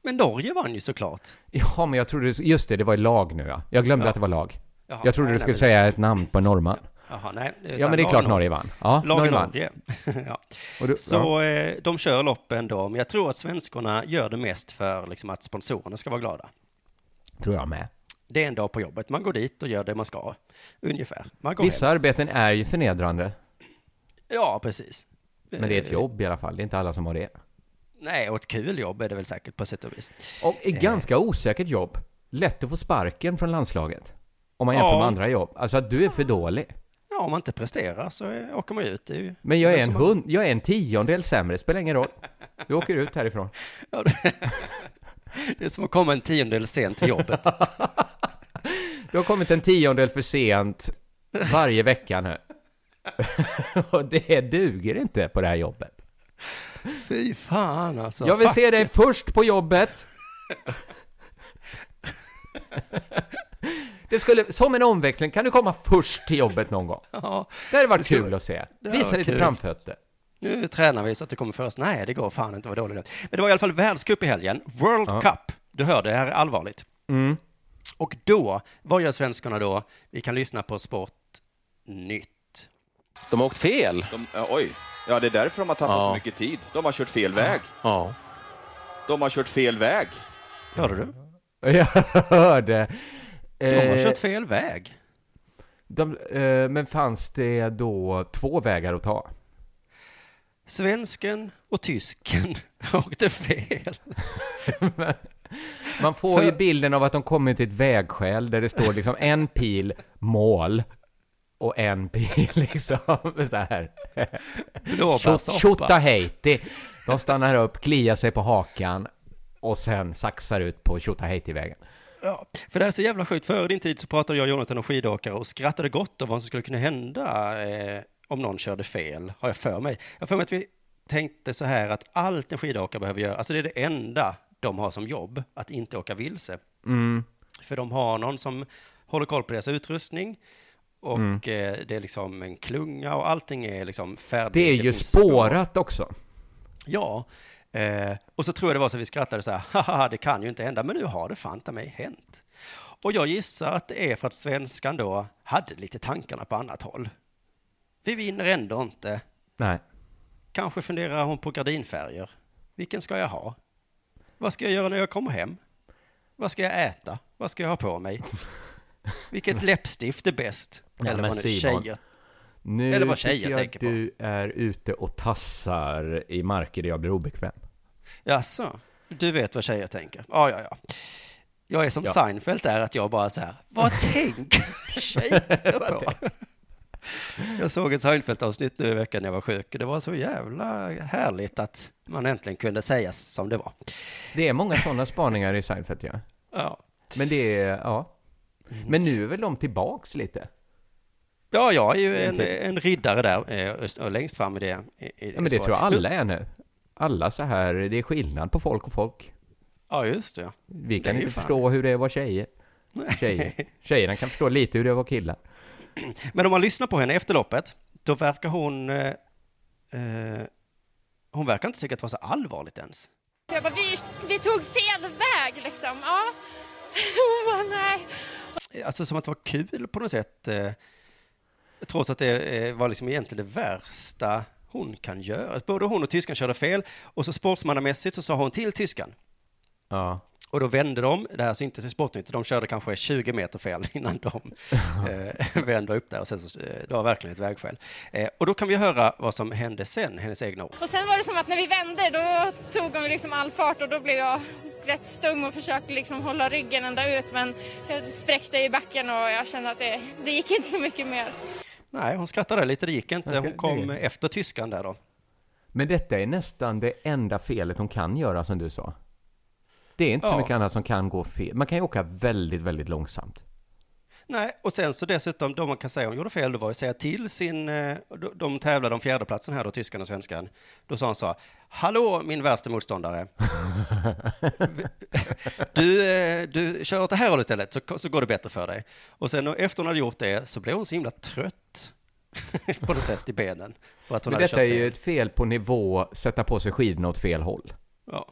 Men Norge vann ju såklart.
Ja, men jag trodde... Just det, det var i lag nu ja. Jag glömde
Ja.
att det var lag.
Jaha,
Jag trodde
nej,
du
nej,
skulle
men-
säga ett namn på en norrman.
Jaha, nej,
Ja, men det är klart Norge vann. Ja,
Norge.
Norge vann.
Norge. ja.
Och du, ja.
Så eh, de kör loppen då, men jag tror att svenskorna gör det mest för liksom, att sponsorerna ska vara glada.
tror jag med.
Det är en dag på jobbet, man går dit och gör det man ska, ungefär. Man går
Vissa
hem.
arbeten är ju förnedrande.
Ja, precis.
Men det är ett
Eh,
jobb i alla fall, det är inte alla som har det.
Nej, och ett kul jobb är det väl säkert på sätt och vis.
Och
Eh.
ett ganska osäkert jobb. Lätt att få sparken från landslaget. Om man jämför
Ja.
med andra jobb. Alltså att du är för dålig.
Ja, om man inte presterar så eh, åker man ju ut. Det är ju...
Men jag
det
är
som
en
man-
hund, jag är en tiondel sämre, det spelar ingen roll. Du åker ut härifrån.
Ja, det- det är som att komma en tiondel sen till jobbet.
Du har kommit en tiondel för sent varje vecka nu. Och det duger inte på det här jobbet.
Fy fan alltså.
Jag vill
Fuck.
se dig först på jobbet. Det skulle, som en omväxling, kan du komma först till jobbet någon gång?
Ja,
Det hade varit
Det skulle-
kul att se.
hade
Visa
varit
lite
kul.
framfötter.
nu tränar vi så att det kommer först. Nej, det går fan inte, vad dåligt. Men det var i alla fall världscup i helgen. World
Ja.
Cup. Du hör, det här är allvarligt.
Mm.
Och då, vad gör svenskarna då? Vi kan lyssna på Sport Nytt.
De har åkt fel.
De, ja, oj. Ja, det är därför de har tappat
Ja.
så mycket tid. De har kört fel väg.
Ja.
De har kört fel väg.
Hörde du?
Jag hörde.
De har
Eh,
kört fel väg.
de, eh, men fanns det då två vägar att ta?
Svensken och tysken åkte fel.
Man får ju
För-
bilden av att de kommer till ett vägskäl där det står liksom en pil mål och en pil liksom så här. Tjota
Blåbärssoppa.
Heiti. De stannar upp, kliar sig på hakan och sen saxar ut på Tjota Heiti-vägen.
Ja, för det här är så jävla sjukt. Före din tid så pratade jag och Jonathan om skidåkare och skrattade gott om vad som skulle kunna hända eh, om någon körde fel, har jag för mig. Jag har för mig att vi tänkte så här att allt en skidåkare behöver göra, alltså det är det enda de har som jobb, att inte åka vilse.
Mm.
För de har någon som håller koll på deras utrustning och
Mm.
eh, det är liksom en klunga och allting är liksom färdigt.
Det är ju
finns spår.
spårat också.
Ja. Eh, och så tror jag det var så vi skrattade så här, haha, det kan ju inte hända, men nu har det fan ta mig hänt. Och jag gissar att det är för att svenskan då hade lite tankarna på annat håll. Vi vinner ändå inte.
Nej.
Kanske funderar hon på gardinfärger. Vilken ska jag ha? Vad ska jag göra när jag kommer hem? Vad ska jag äta? Vad ska jag ha på mig? Vilket läppstift är bäst?
Nej,
Eller
men
vad nu
Simon.
tjejer.
Nu
Eller vad
tycker
tjejer
jag
tänker på.
du är ute och tassar i marker där jag blir obekväm.
Jaså, du vet vad tjejer tänker. Ja, ja, ja. Jag är som
Ja.
Seinfeld där, att jag bara så här, vad tänker tjejer på? jag såg ett Seinfeld-avsnitt nu i veckan när jag var sjuk. Det var så jävla härligt att man äntligen kunde säga som det var.
Det är många sådana spaningar i Seinfeld, ja.
Ja,
Men det är, ja.
Mm.
Men nu är väl de tillbaks lite?
ja jag är ju en, en riddare där, eh, och- och längst fram i det. I, i
Ja, men det
spåret.
tror jag alla är nu. Alla så här, det är skillnad på folk och folk.
Ja, just det.
Vi
Det är
kan
ju
inte
fan.
förstå hur det är att vara tjejer. tjejer. Tjejerna kan förstå lite hur det är att vara killar.
Men om man lyssnar på henne efter loppet, då verkar hon... Eh, eh, hon verkar inte tycka att det var så allvarligt ens.
Så jag bara, vi, vi tog fel väg liksom. Ja. Hon bara, nej.
alltså som att det var kul på något sätt. Eh, trots att det eh, var liksom egentligen det värsta hon kan göra. Både hon och tyskan körde fel och så sportsmannamässigt så sa hon till tyskan.
Ja.
Och då vände de, det här syntes i Sportnytt, de körde kanske 20 meter fel innan de eh, vände upp där och sen så, eh, det var verkligen ett vägskäl. Eh, och då kan vi höra vad som hände sen, hennes egna ord.
Och sen var det som att när vi vände då tog hon liksom all fart och då blev jag rätt stum och försökte liksom hålla ryggen ända ut men jag spräckte i backen och jag kände att det, det gick inte så mycket mer.
Nej, hon skrattade lite, det gick inte.
Okej,
Hon kom
det är-
efter tyskan där då.
Men detta är nästan det enda felet hon kan göra, som du sa. Det är inte så
Ja.
mycket annat som kan gå fel. Man kan ju åka väldigt, väldigt långsamt.
Nej, och sen så dessutom, då man kan säga hon gjorde fel, det var att säga till sin, eh, de- de tävlade om fjärdeplatsen här då, tyskan och svenskan. Då sa han så, hallå min värsta motståndare. Du, eh, du kör åt det här hållet istället, så, så går det bättre för dig. Och sen efter hon hade gjort det så blev hon så himla trött på något sätt i benen. För att hon
Men
hade
detta
kört
är ju
fel.
ett fel på nivå, sätta på sig skidorna åt fel håll.
Ja.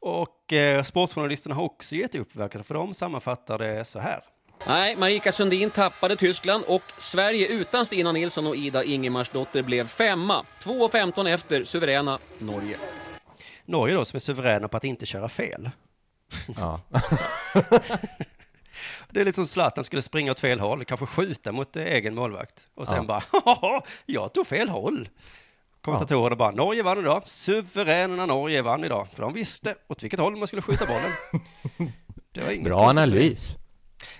Och eh, sportjournalisterna har också gett upp, verkar det, för de sammanfattar det så här.
Nej, Marika Sundin tappade Tyskland och Sverige utan Stina Nilsson och Ida Ingemarsdotter blev femma. 2.15 efter suveräna Norge.
Norge då, som är suveräna på att inte köra fel.
Ja.
Det är lite som Zlatan skulle springa åt fel håll, kanske skjuta mot eh, egen målvakt. Och sen
Ja.
bara, "Haha, jag tog fel håll. Kommentatorerna bara, Norge vann idag, suveräna Norge vann idag, för de visste åt vilket håll man skulle skjuta bollen. Det var inget
Bra
konstigt.
analys.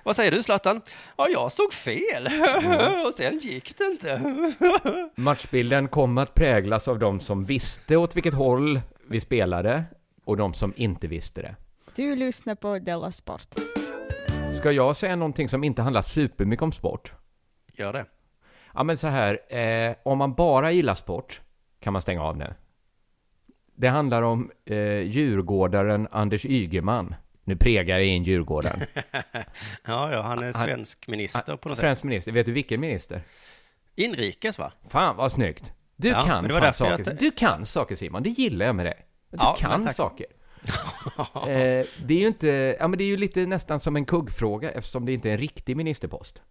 Vad säger du Zlatan? Ja, jag såg fel, och sen gick det inte.
Matchbilden kom att präglas av de som visste åt vilket håll vi spelade och de som inte visste det.
Du lyssnar på Della Sport.
Ska jag säga någonting som inte handlar supermycket om sport?
Gör det.
Ja, men så här, eh, om man bara gillar sport kan man stänga av nu. Det handlar om eh, djurgårdaren Anders Ygeman. Nu pregar jag in djurgården.
Ja, ja, han är svensk minister på något sätt.
Svensk minister. Vet du vilken minister?
Inrikes va?
Fan vad snyggt! Du
Ja, men
kan
det var
fan
därför jag
saker.
t-
Du kan saker Simon, det gillar jag med dig. Du
Ja, men
kan
tack så-
saker. eh, det är ju inte, ja men det är ju lite nästan som en kuggfråga eftersom det inte är en riktig ministerpost.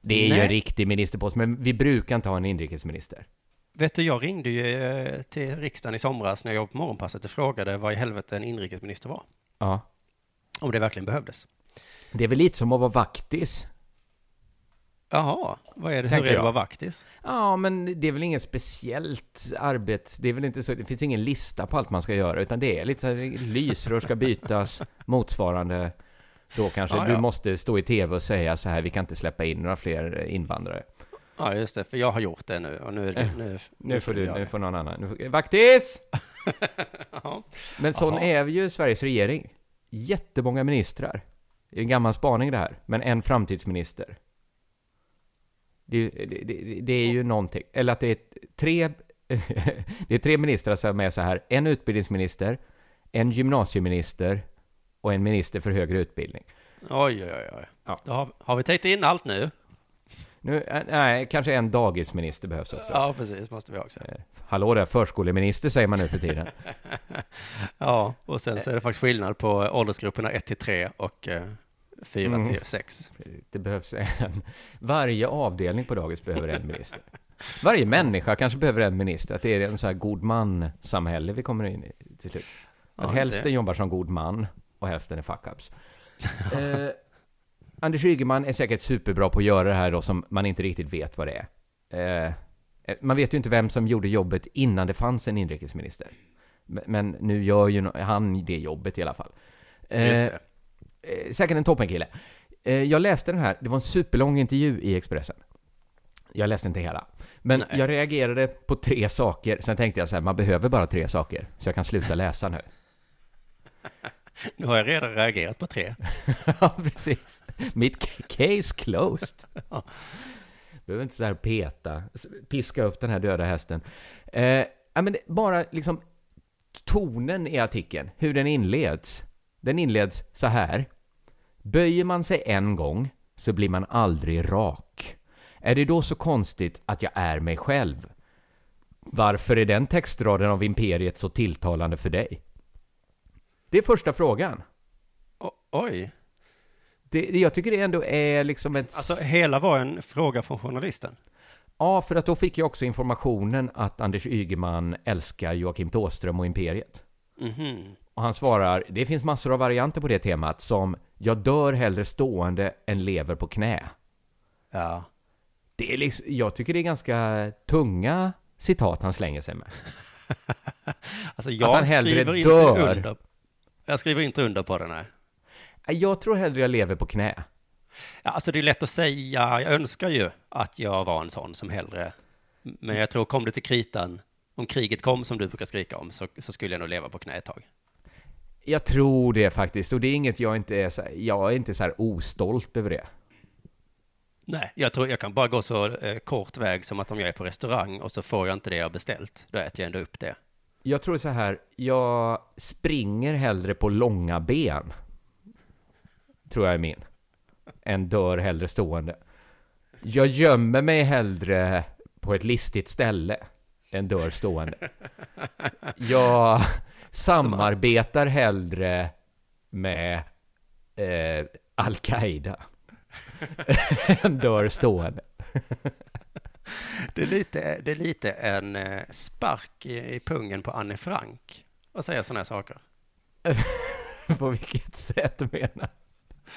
Det är ju
Nej.
en riktig ministerpost, men vi brukar inte ha en inrikesminister.
Vet du, jag ringde ju eh, till riksdagen i somras när jag jobbade på morgonpasset och frågade vad i helvete en inrikesminister var.
Ja.
Om det verkligen behövdes.
Det är väl lite som att vara vaktis.
Jaha, vad är det?
Tänker
Hur är det
jag.
att vara vaktis?
Ja, men det är väl inget speciellt arbets... Det är väl inte så... Det finns ingen lista på allt man ska göra, utan det är lite så här, lysrör ska bytas, motsvarande då kanske.
Ja,
Du
ja.
måste stå i tv och säga så här, vi kan inte släppa in några fler invandrare.
Ja, just det, för jag har gjort det nu och nu, är det- nu,
Eh, Nu får du,
göra
nu
det.
får någon annan. Nu får, vaktis!
Ja.
Men sån
Jaha.
är ju Sveriges regering. Jättemånga ministrar. Det är en gammal spaning det här, men en framtidsminister. Det, är ju- det, det, det är ju någonting. Eller att det är tre, det är tre ministrar som är så här. En utbildningsminister, en gymnasieminister och en minister för högre utbildning.
Oj, oj, oj. oj.
Ja.
Då har, har vi täckt in allt nu?
Nu, eh, nej, kanske en dagisminister behövs också.
Ja, precis, måste vi ha också.
Eh. Hallå där, förskoleminister säger man nu för tiden.
Ja, och sen så är det faktiskt skillnad på åldersgrupperna 1 till 3 och 4
Mm.
till 6.
Det behövs en. Varje avdelning på dagis behöver en minister. Varje människa kanske behöver en minister. Att det är en så här god man-samhälle vi kommer in i till slut. Att
Ja, vi ser.
hälften jobbar som god man och hälften är fuck-ups. eh, Anders Ygeman är säkert superbra på att göra det här då som man inte riktigt vet vad det är. Eh, man vet ju inte vem som gjorde jobbet innan det fanns en inrikesminister. Men- Men nu gör ju no- han det jobbet i alla fall.
Just
Eh,
det.
Eh, säkert en toppenkille. Eh, jag läste den här, det var en superlång intervju i Expressen. Jag läste inte hela. Men jag reagerade på tre saker, sen tänkte jag så här, man behöver bara tre saker, så jag kan sluta läsa nu.
Nu har jag redan reagerat på 3.
ja, precis. Mitt c- case closed. Behöver inte så här peta, s- piska upp den här döda hästen. Eh, ja, men det, bara liksom tonen i artikeln, hur den inleds. Den inleds så här. Böjer man sig en gång så blir man aldrig rak. Är det då så konstigt att jag är mig själv? Varför är den textraden av imperiet så tilltalande för dig? Det är första frågan.
Oj,
Det, det- jag tycker det ändå är liksom ett...
alltså hela var en fråga från journalisten.
Ja, för att då fick jag också informationen att Anders Ygeman älskar Joakim Thåström och Imperiet.
Mhm.
Och han svarar, det finns massor av varianter på det temat som jag dör hellre stående än lever på knä.
Ja.
Det är liksom, jag tycker det är ganska tunga citat han slänger sig med.
Alltså jag
Att han hellre
skriver inte
dör.
under. Jag skriver inte under på den här.
Jag tror hellre jag lever på knä.
Ja, alltså det är lätt att säga, jag önskar ju att jag var en sån som hellre, men jag tror kom det till kritan, om kriget kom som du brukar skrika om, så, så skulle jag nog leva på knä ett tag.
Jag tror det faktiskt, och det är inget jag inte är så här, jag är inte så här ostolt över det.
Nej, jag tror jag kan bara gå så eh, kort väg som att om jag är på restaurang och så får jag inte det jag beställt, då äter jag ändå upp det.
Jag tror så här, jag springer hellre på långa ben. Tror jag är min. Än dör hellre stående. Jag gömmer mig hellre på ett listigt ställe. Än dör stående. Jag samarbetar hellre med eh, Al-Qaida. än dör stående.
Det är lite, det är lite en eh, spark i, i pungen på Anne Frank att säga sådana här saker.
På vilket sätt menar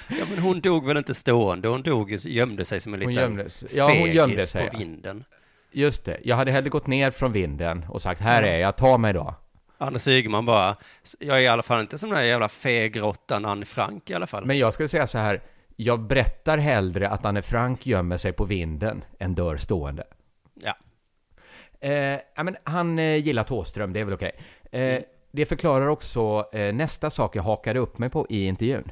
Ja, men hon dog väl inte stående, hon dog ju, gömde sig som en
Hon
liten
gömde sig. Ja, hon
fegis
gömde sig,
på
ja.
vinden.
Just det, jag hade hellre gått ner från vinden och sagt här är jag, ta mig då.
Anders Ygeman bara, jag är i alla fall inte som den här jävla fegrottan Anne Frank i alla fall.
Men jag skulle säga så här, jag berättar hellre att Anne Frank gömmer sig på vinden än dör stående.
Ja,
Eh, ja, men han eh, gillar Thåström, det är väl okej. Eh, det förklarar också eh, nästa sak jag hakade upp mig på i intervjun.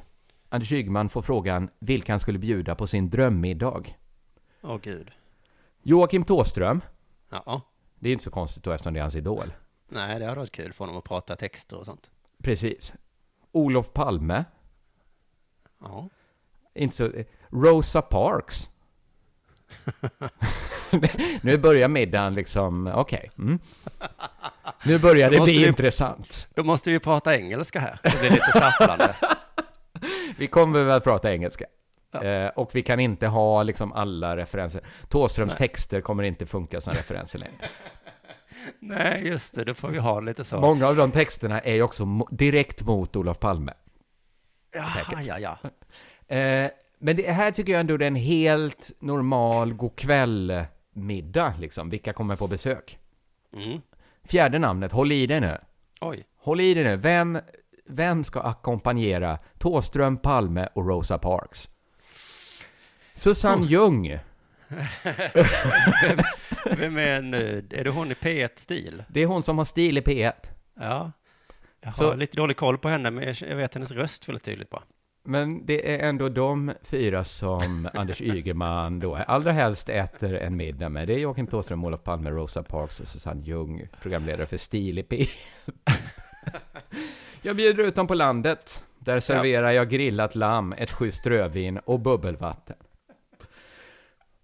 Anders Ygeman får frågan vilka han skulle bjuda på sin drömmiddag.
åh gud.
Joakim Thåström,
Ja,
det är inte så konstigt då eftersom det är hans idol.
nej det hade varit kul för honom att prata texter och sånt.
Precis. Olof Palme,
Ja,
Inte så... Rosa Parks. nu börjar middagen liksom, okej. Mm. Nu börjar
Då
det
måste
bli
vi-
intressant.
då måste vi prata engelska här. Det blir lite sapplande.
Vi kommer väl att prata engelska. Eh, och vi kan inte ha liksom alla referenser. Thåströms texter kommer inte funka som referenser längre.
nej, just det, då får vi ha lite så.
Många av de texterna är ju också mo- direkt mot Olof Palme.
ja, ja, ja.
Eh, men det här tycker jag ändå det är en helt normal godkväll-middag, liksom. Vilka kommer på besök?
Mm.
Fjärde namnet, håll i dig nu.
Oj,
Håll i dig nu. Vem, vem ska ackompanjera Thåström, Palme och Rosa Parks? Susanne Ljung.
vem är nu? Är det hon i P1-stil?
Det är hon som har stil i P1.
Ja. Jag har
Så-
lite dålig koll på henne, men jag vet hennes röst väldigt tydligt bara.
Men det är ändå de fyra som Anders Ygeman då allra helst äter en middag med. Det är Joakim Thåström, Olof Palme, Rosa Parks och Susanne Ljung, programledare för Stil i P1. Jag bjuder ut dem på landet. Där serverar jag grillat lamm, ett schysst rödvin och bubbelvatten.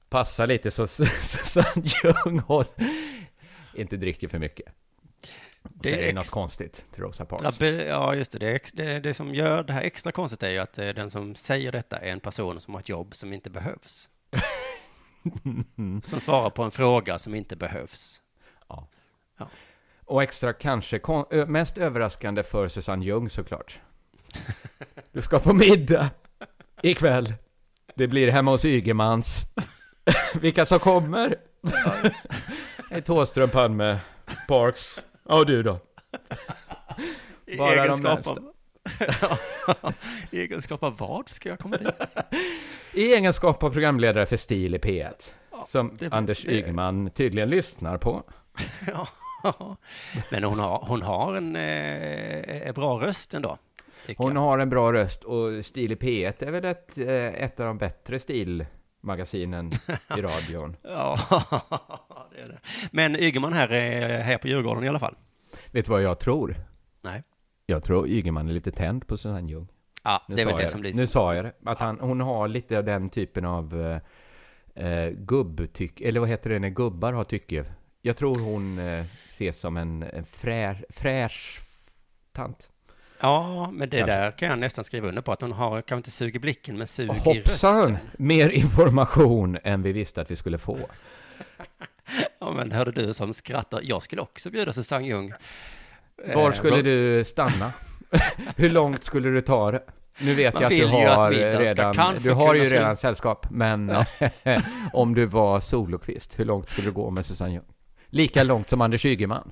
passar lite så så- så Susanne Ljung håll- inte dricker för mycket. Och
Det är
säger
ex-
något konstigt till Rosa
Ja,
Parks.
be- ja, just det. Det, är ex- det. Det som gör det här extra konstigt är ju att eh, den som säger detta är en person som har ett jobb som inte behövs. som svarar på en fråga som inte behövs.
Och extra kanske kon- ö- mest överraskande för Susanne Ljung såklart. Du ska på middag ikväll. Det blir hemma hos Ygemans. Vilka som kommer? Ett Håström, Palme, Parks. Ja, du då?
I
Bara de
egenskap
närmsta.
av... I egenskap av vad ska jag komma dit?
I egenskap av programledare för Stil i P1. Som
det-
Anders
det-
Ygeman tydligen lyssnar på.
Ja. Men hon har, hon har en eh, eh, bra röst ändå. tycker
Hon
jag.
har en bra röst och Stil i P1 är väl ett, eh, ett av de bättre stilmagasinen i radion.
Ja, det är det. Men Ygeman här är här på Djurgården i alla fall.
Vet du vad jag tror?
Nej.
Jag tror Ygeman är lite tänd på Susanne Ljung.
Ja,
Nu
det är
sa
väl det
jag
som
Nu
blir...
sa jag det. Att han, hon har lite av den typen av eh, eh, gubbtyck, eller vad heter det när gubbar har tycke? Jag tror hon eh, ses som en, en frä, fräsch tant.
Ja, men det
Kanske.
där kan jag nästan skriva under på. Att hon har, kanske inte sug i blicken, men sug i rösten.
Hoppsan! Mer information än vi visste att vi skulle få.
Ja, men hörde du som skrattar. Jag skulle också bjuda Susanne Ljung.
Var
Eh,
skulle
vad-
du stanna? Hur långt skulle du ta det? Nu vet
Man
jag att du
vill ju att
har
middagen ska
redan,
kanske
du har ju
kunna
redan sällskap, men om du var solokvist, hur långt skulle du gå med Susanne Ljung? Lika långt som Anders Ygeman.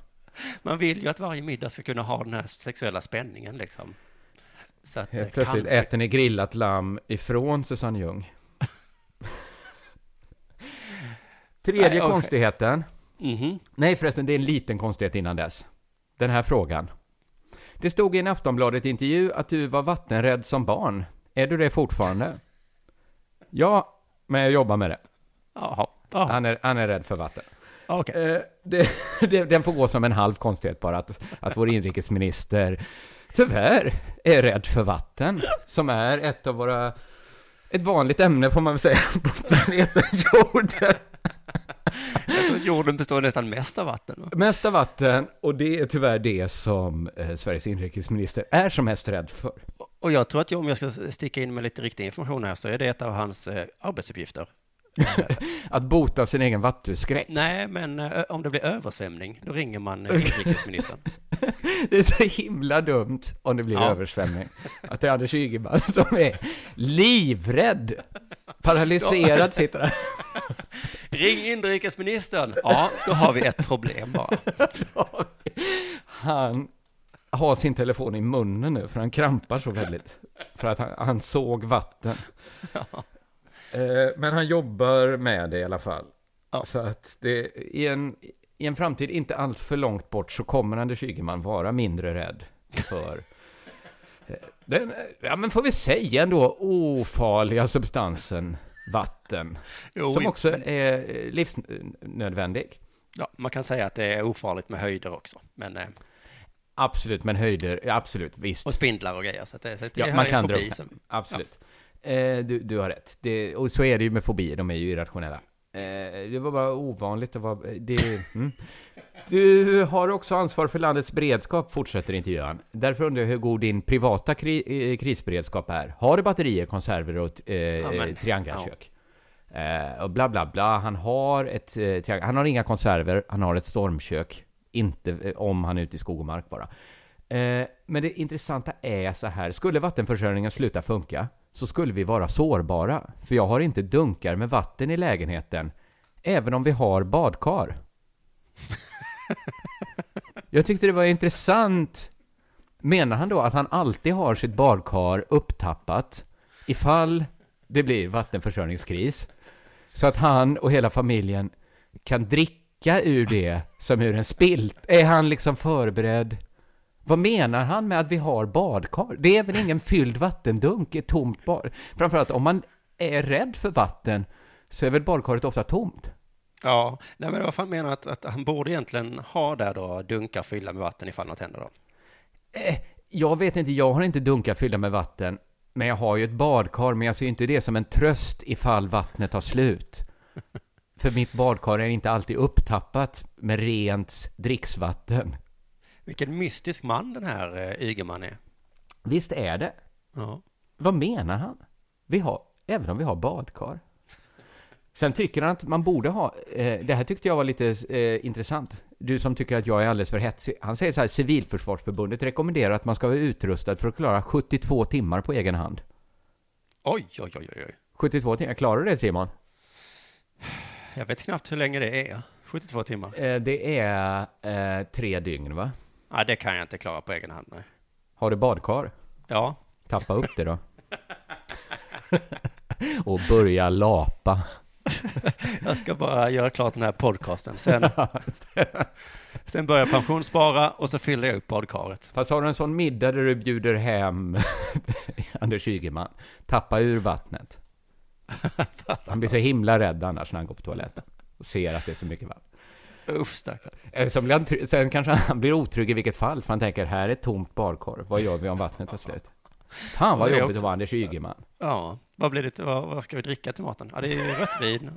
Man vill ju att varje middag ska kunna ha den här sexuella spänningen liksom. Så att eh,
Helt plötsligt
kanske-
äter ni grillat lamm ifrån Susanne Ljung. Tredje
Nej, okej.
konstigheten.
Mhm.
Nej förresten, det är en liten konstighet innan dess. Den här frågan. Det stod i en Aftonbladet-intervju att du var vattenrädd som barn. Är du det fortfarande? Ja, men jag jobbar med det.
Jaha. Ja,
Han är, han är rädd för vatten.
okej.
Eh, det, det, den får gå som en halv konstighet bara, att, att vår inrikesminister tyvärr är rädd för vatten, som är ett av våra... Ett vanligt ämne får man väl säga på planeten jorden. Eh.
Jorden består nästan mest av vatten. Va?
Mesta vatten, och det är tyvärr det som eh, Sveriges inrikesminister är som mest rädd för.
Och jag tror att jag, om jag ska sticka in med lite riktig information här så är det ett av hans eh, arbetsuppgifter. Eh,
Att bota sin egen vattuskräck.
nej, men eh, om det blir översvämning, då ringer man eh, inrikesministern.
Det är så himla dumt om det blir
Ja.
översvämning. Att det är Anders Ygeman som är livrädd. Paralyserad sitter han.
Ring inrikesministern! Ja, då har vi ett problem bara.
Han har sin telefon i munnen nu, för han krampar så väldigt. För att han, han såg vatten. Eh, Men han jobbar med det i alla fall.
Ja.
Så att det, i, en, i en framtid inte allt för långt bort så kommer Anders Ygeman vara mindre rädd för eh, den, eh, ja men får vi säga ändå, ofarliga substansen vatten.
Jo,
som
i-
också är eh, livsnödvändig.
Ja, man kan säga att det är ofarligt med höjder också. Men, eh,
Absolut, men höjder, ja, absolut, visst.
och spindlar och grejer. Så att det, så att det
Ja,
här
man
är
kan
fobi
dra
som-
Absolut. Eh, du, du har rätt. Det, och så är det ju med fobier, de är ju irrationella. Eh, det var bara ovanligt att vara... Det, mm. Du har också ansvar för landets beredskap, fortsätter intervjuan. Därför undrar jag hur god din privata kri, eh, krisberedskap är. Har du batterier, konserver och eh,
men,
eh, triangelkök? Eh, och bla bla bla. Han har ett eh, triangel- Han har inga konserver, han har ett stormkök. Inte eh, om han är ute i skog och mark bara. Eh, men det intressanta är så här, skulle vattenförsörjningen sluta funka så skulle vi vara sårbara. För jag har inte dunkar med vatten i lägenheten, även om vi har badkar. jag tyckte det var intressant. Menar han då att han alltid har sitt badkar upptappat ifall det blir vattenförsörjningskris? Så att han och hela familjen kan dricka ur det som ur en spilt. Är han liksom förberedd? Vad menar han med att vi har badkar? Det är väl ingen fylld vattendunk, ett tomt bad? Framförallt om man är rädd för vatten så är väl badkaret ofta tomt?
Ja, nej men vad fan menar att, att han borde egentligen ha där då dunkar fyllda med vatten ifall något händer då?
Jag vet inte, jag har inte dunkar fyllda med vatten, men jag har ju ett badkar, men jag ser ju inte det som en tröst ifall vattnet tar slut. För mitt badkar är inte alltid upptappat med rent dricksvatten.
Vilken mystisk man den här eh, Ygeman är.
Visst är det?
Ja.
Vad menar han? Vi har, även om vi har badkar. Sen tycker han att man borde ha, eh, det här tyckte jag var lite eh, intressant. Du som tycker att jag är alldeles för hetsig. Han säger så här, Civilförsvarsförbundet rekommenderar att man ska vara utrustad för att klara 72 timmar på egen hand.
Oj, oj, oj, oj, oj.
72 timmar, klarar du det Simon?
Jag vet knappt hur länge det är. 72 timmar.
Eh, det är eh, tre dygn va?
Nej, det kan jag inte klara på egen hand. Nej.
Har du badkar?
Ja,
Tappa upp det då. Och börja lapa.
jag ska bara göra klart den här podcasten. Sen, sen börjar jag pensionsspara och så fyller jag upp badkaret.
Fast har du en sån middag där du bjuder hem Anders Ygeman, tappa ur vattnet. Han blir så himla rädd annars när han går på toaletten och ser att det är så mycket vatten.
Uff, stackarn.
Eller så blir han, try- sen kanske han blir otrygg i vilket fall, för han tänker här är ett tomt badkar, vad gör vi om vattnet tar slut? Fan vad
Det är
jobbigt
också-
att vara Anders Ygeman.
Ja, vad blir det? Vad, vad ska vi dricka till maten? Ja, det är ju rött vin.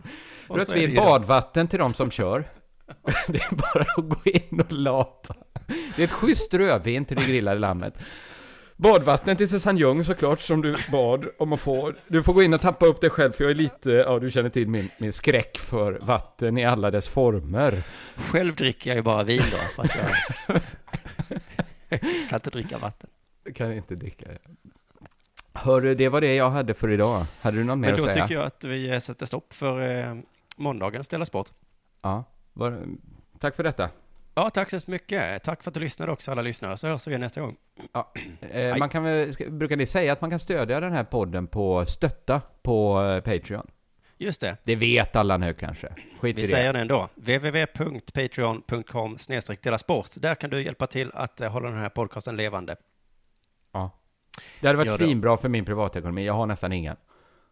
Och så
Rött
är det
vin,
ju-
badvatten till de som kör. Det är bara att gå in och lapa. Det är ett schysst rödvin till det grillade lammet. Badvattnet till Susanne Ljung såklart, som du bad om att få. Du får gå in och tappa upp dig själv, för jag är lite, ja du känner till min, min skräck för vatten i alla dess former.
Själv dricker jag ju bara vin då, för att jag kan inte dricka vatten.
Jag kan inte dricka. Hörru, det var det jag hade för idag. Hade du något mer
Men
att
då
säga?
tycker jag att vi eh, sätter stopp för eh, måndagens Della Sport.
Ja, var, tack för detta.
Ja, tack så hemskt mycket. Tack för att du lyssnade också, alla lyssnare. Så hörs vi nästa gång.
Ja, eh, man kan väl, ska- brukar ni säga att man kan stödja den här podden på stötta på eh, Patreon?
Just det.
Det vet alla nu kanske. Skit i
Vi
det.
säger det ändå. www.patreon.com delasport. Där kan du hjälpa till att eh, hålla den här podcasten levande.
Ja. Det hade varit
Gör det.
svinbra för min privatekonomi. Jag har nästan ingen.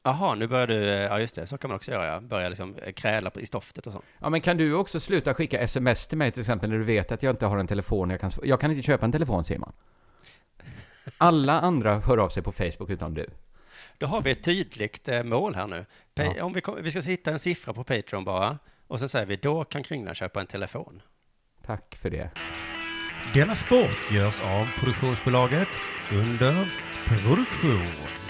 Jaha, nu börjar du, eh, ja just det, så kan man också göra, ja. börja liksom eh, kräla på- i stoftet och sånt.
Ja, men kan du också sluta skicka sms till mig till exempel när du vet att jag inte har en telefon jag kan... sv- Jag kan inte köpa en telefon, Simon. Alla andra hör av sig på Facebook utom du.
Då har vi ett tydligt eh, mål här nu. Pa- Om vi, kom, vi ska hitta en siffra på Patreon bara, och sen säger vi då kan Kringlan köpa en telefon.
Tack för det.
Denna sport görs av produktionsbolaget under produktion.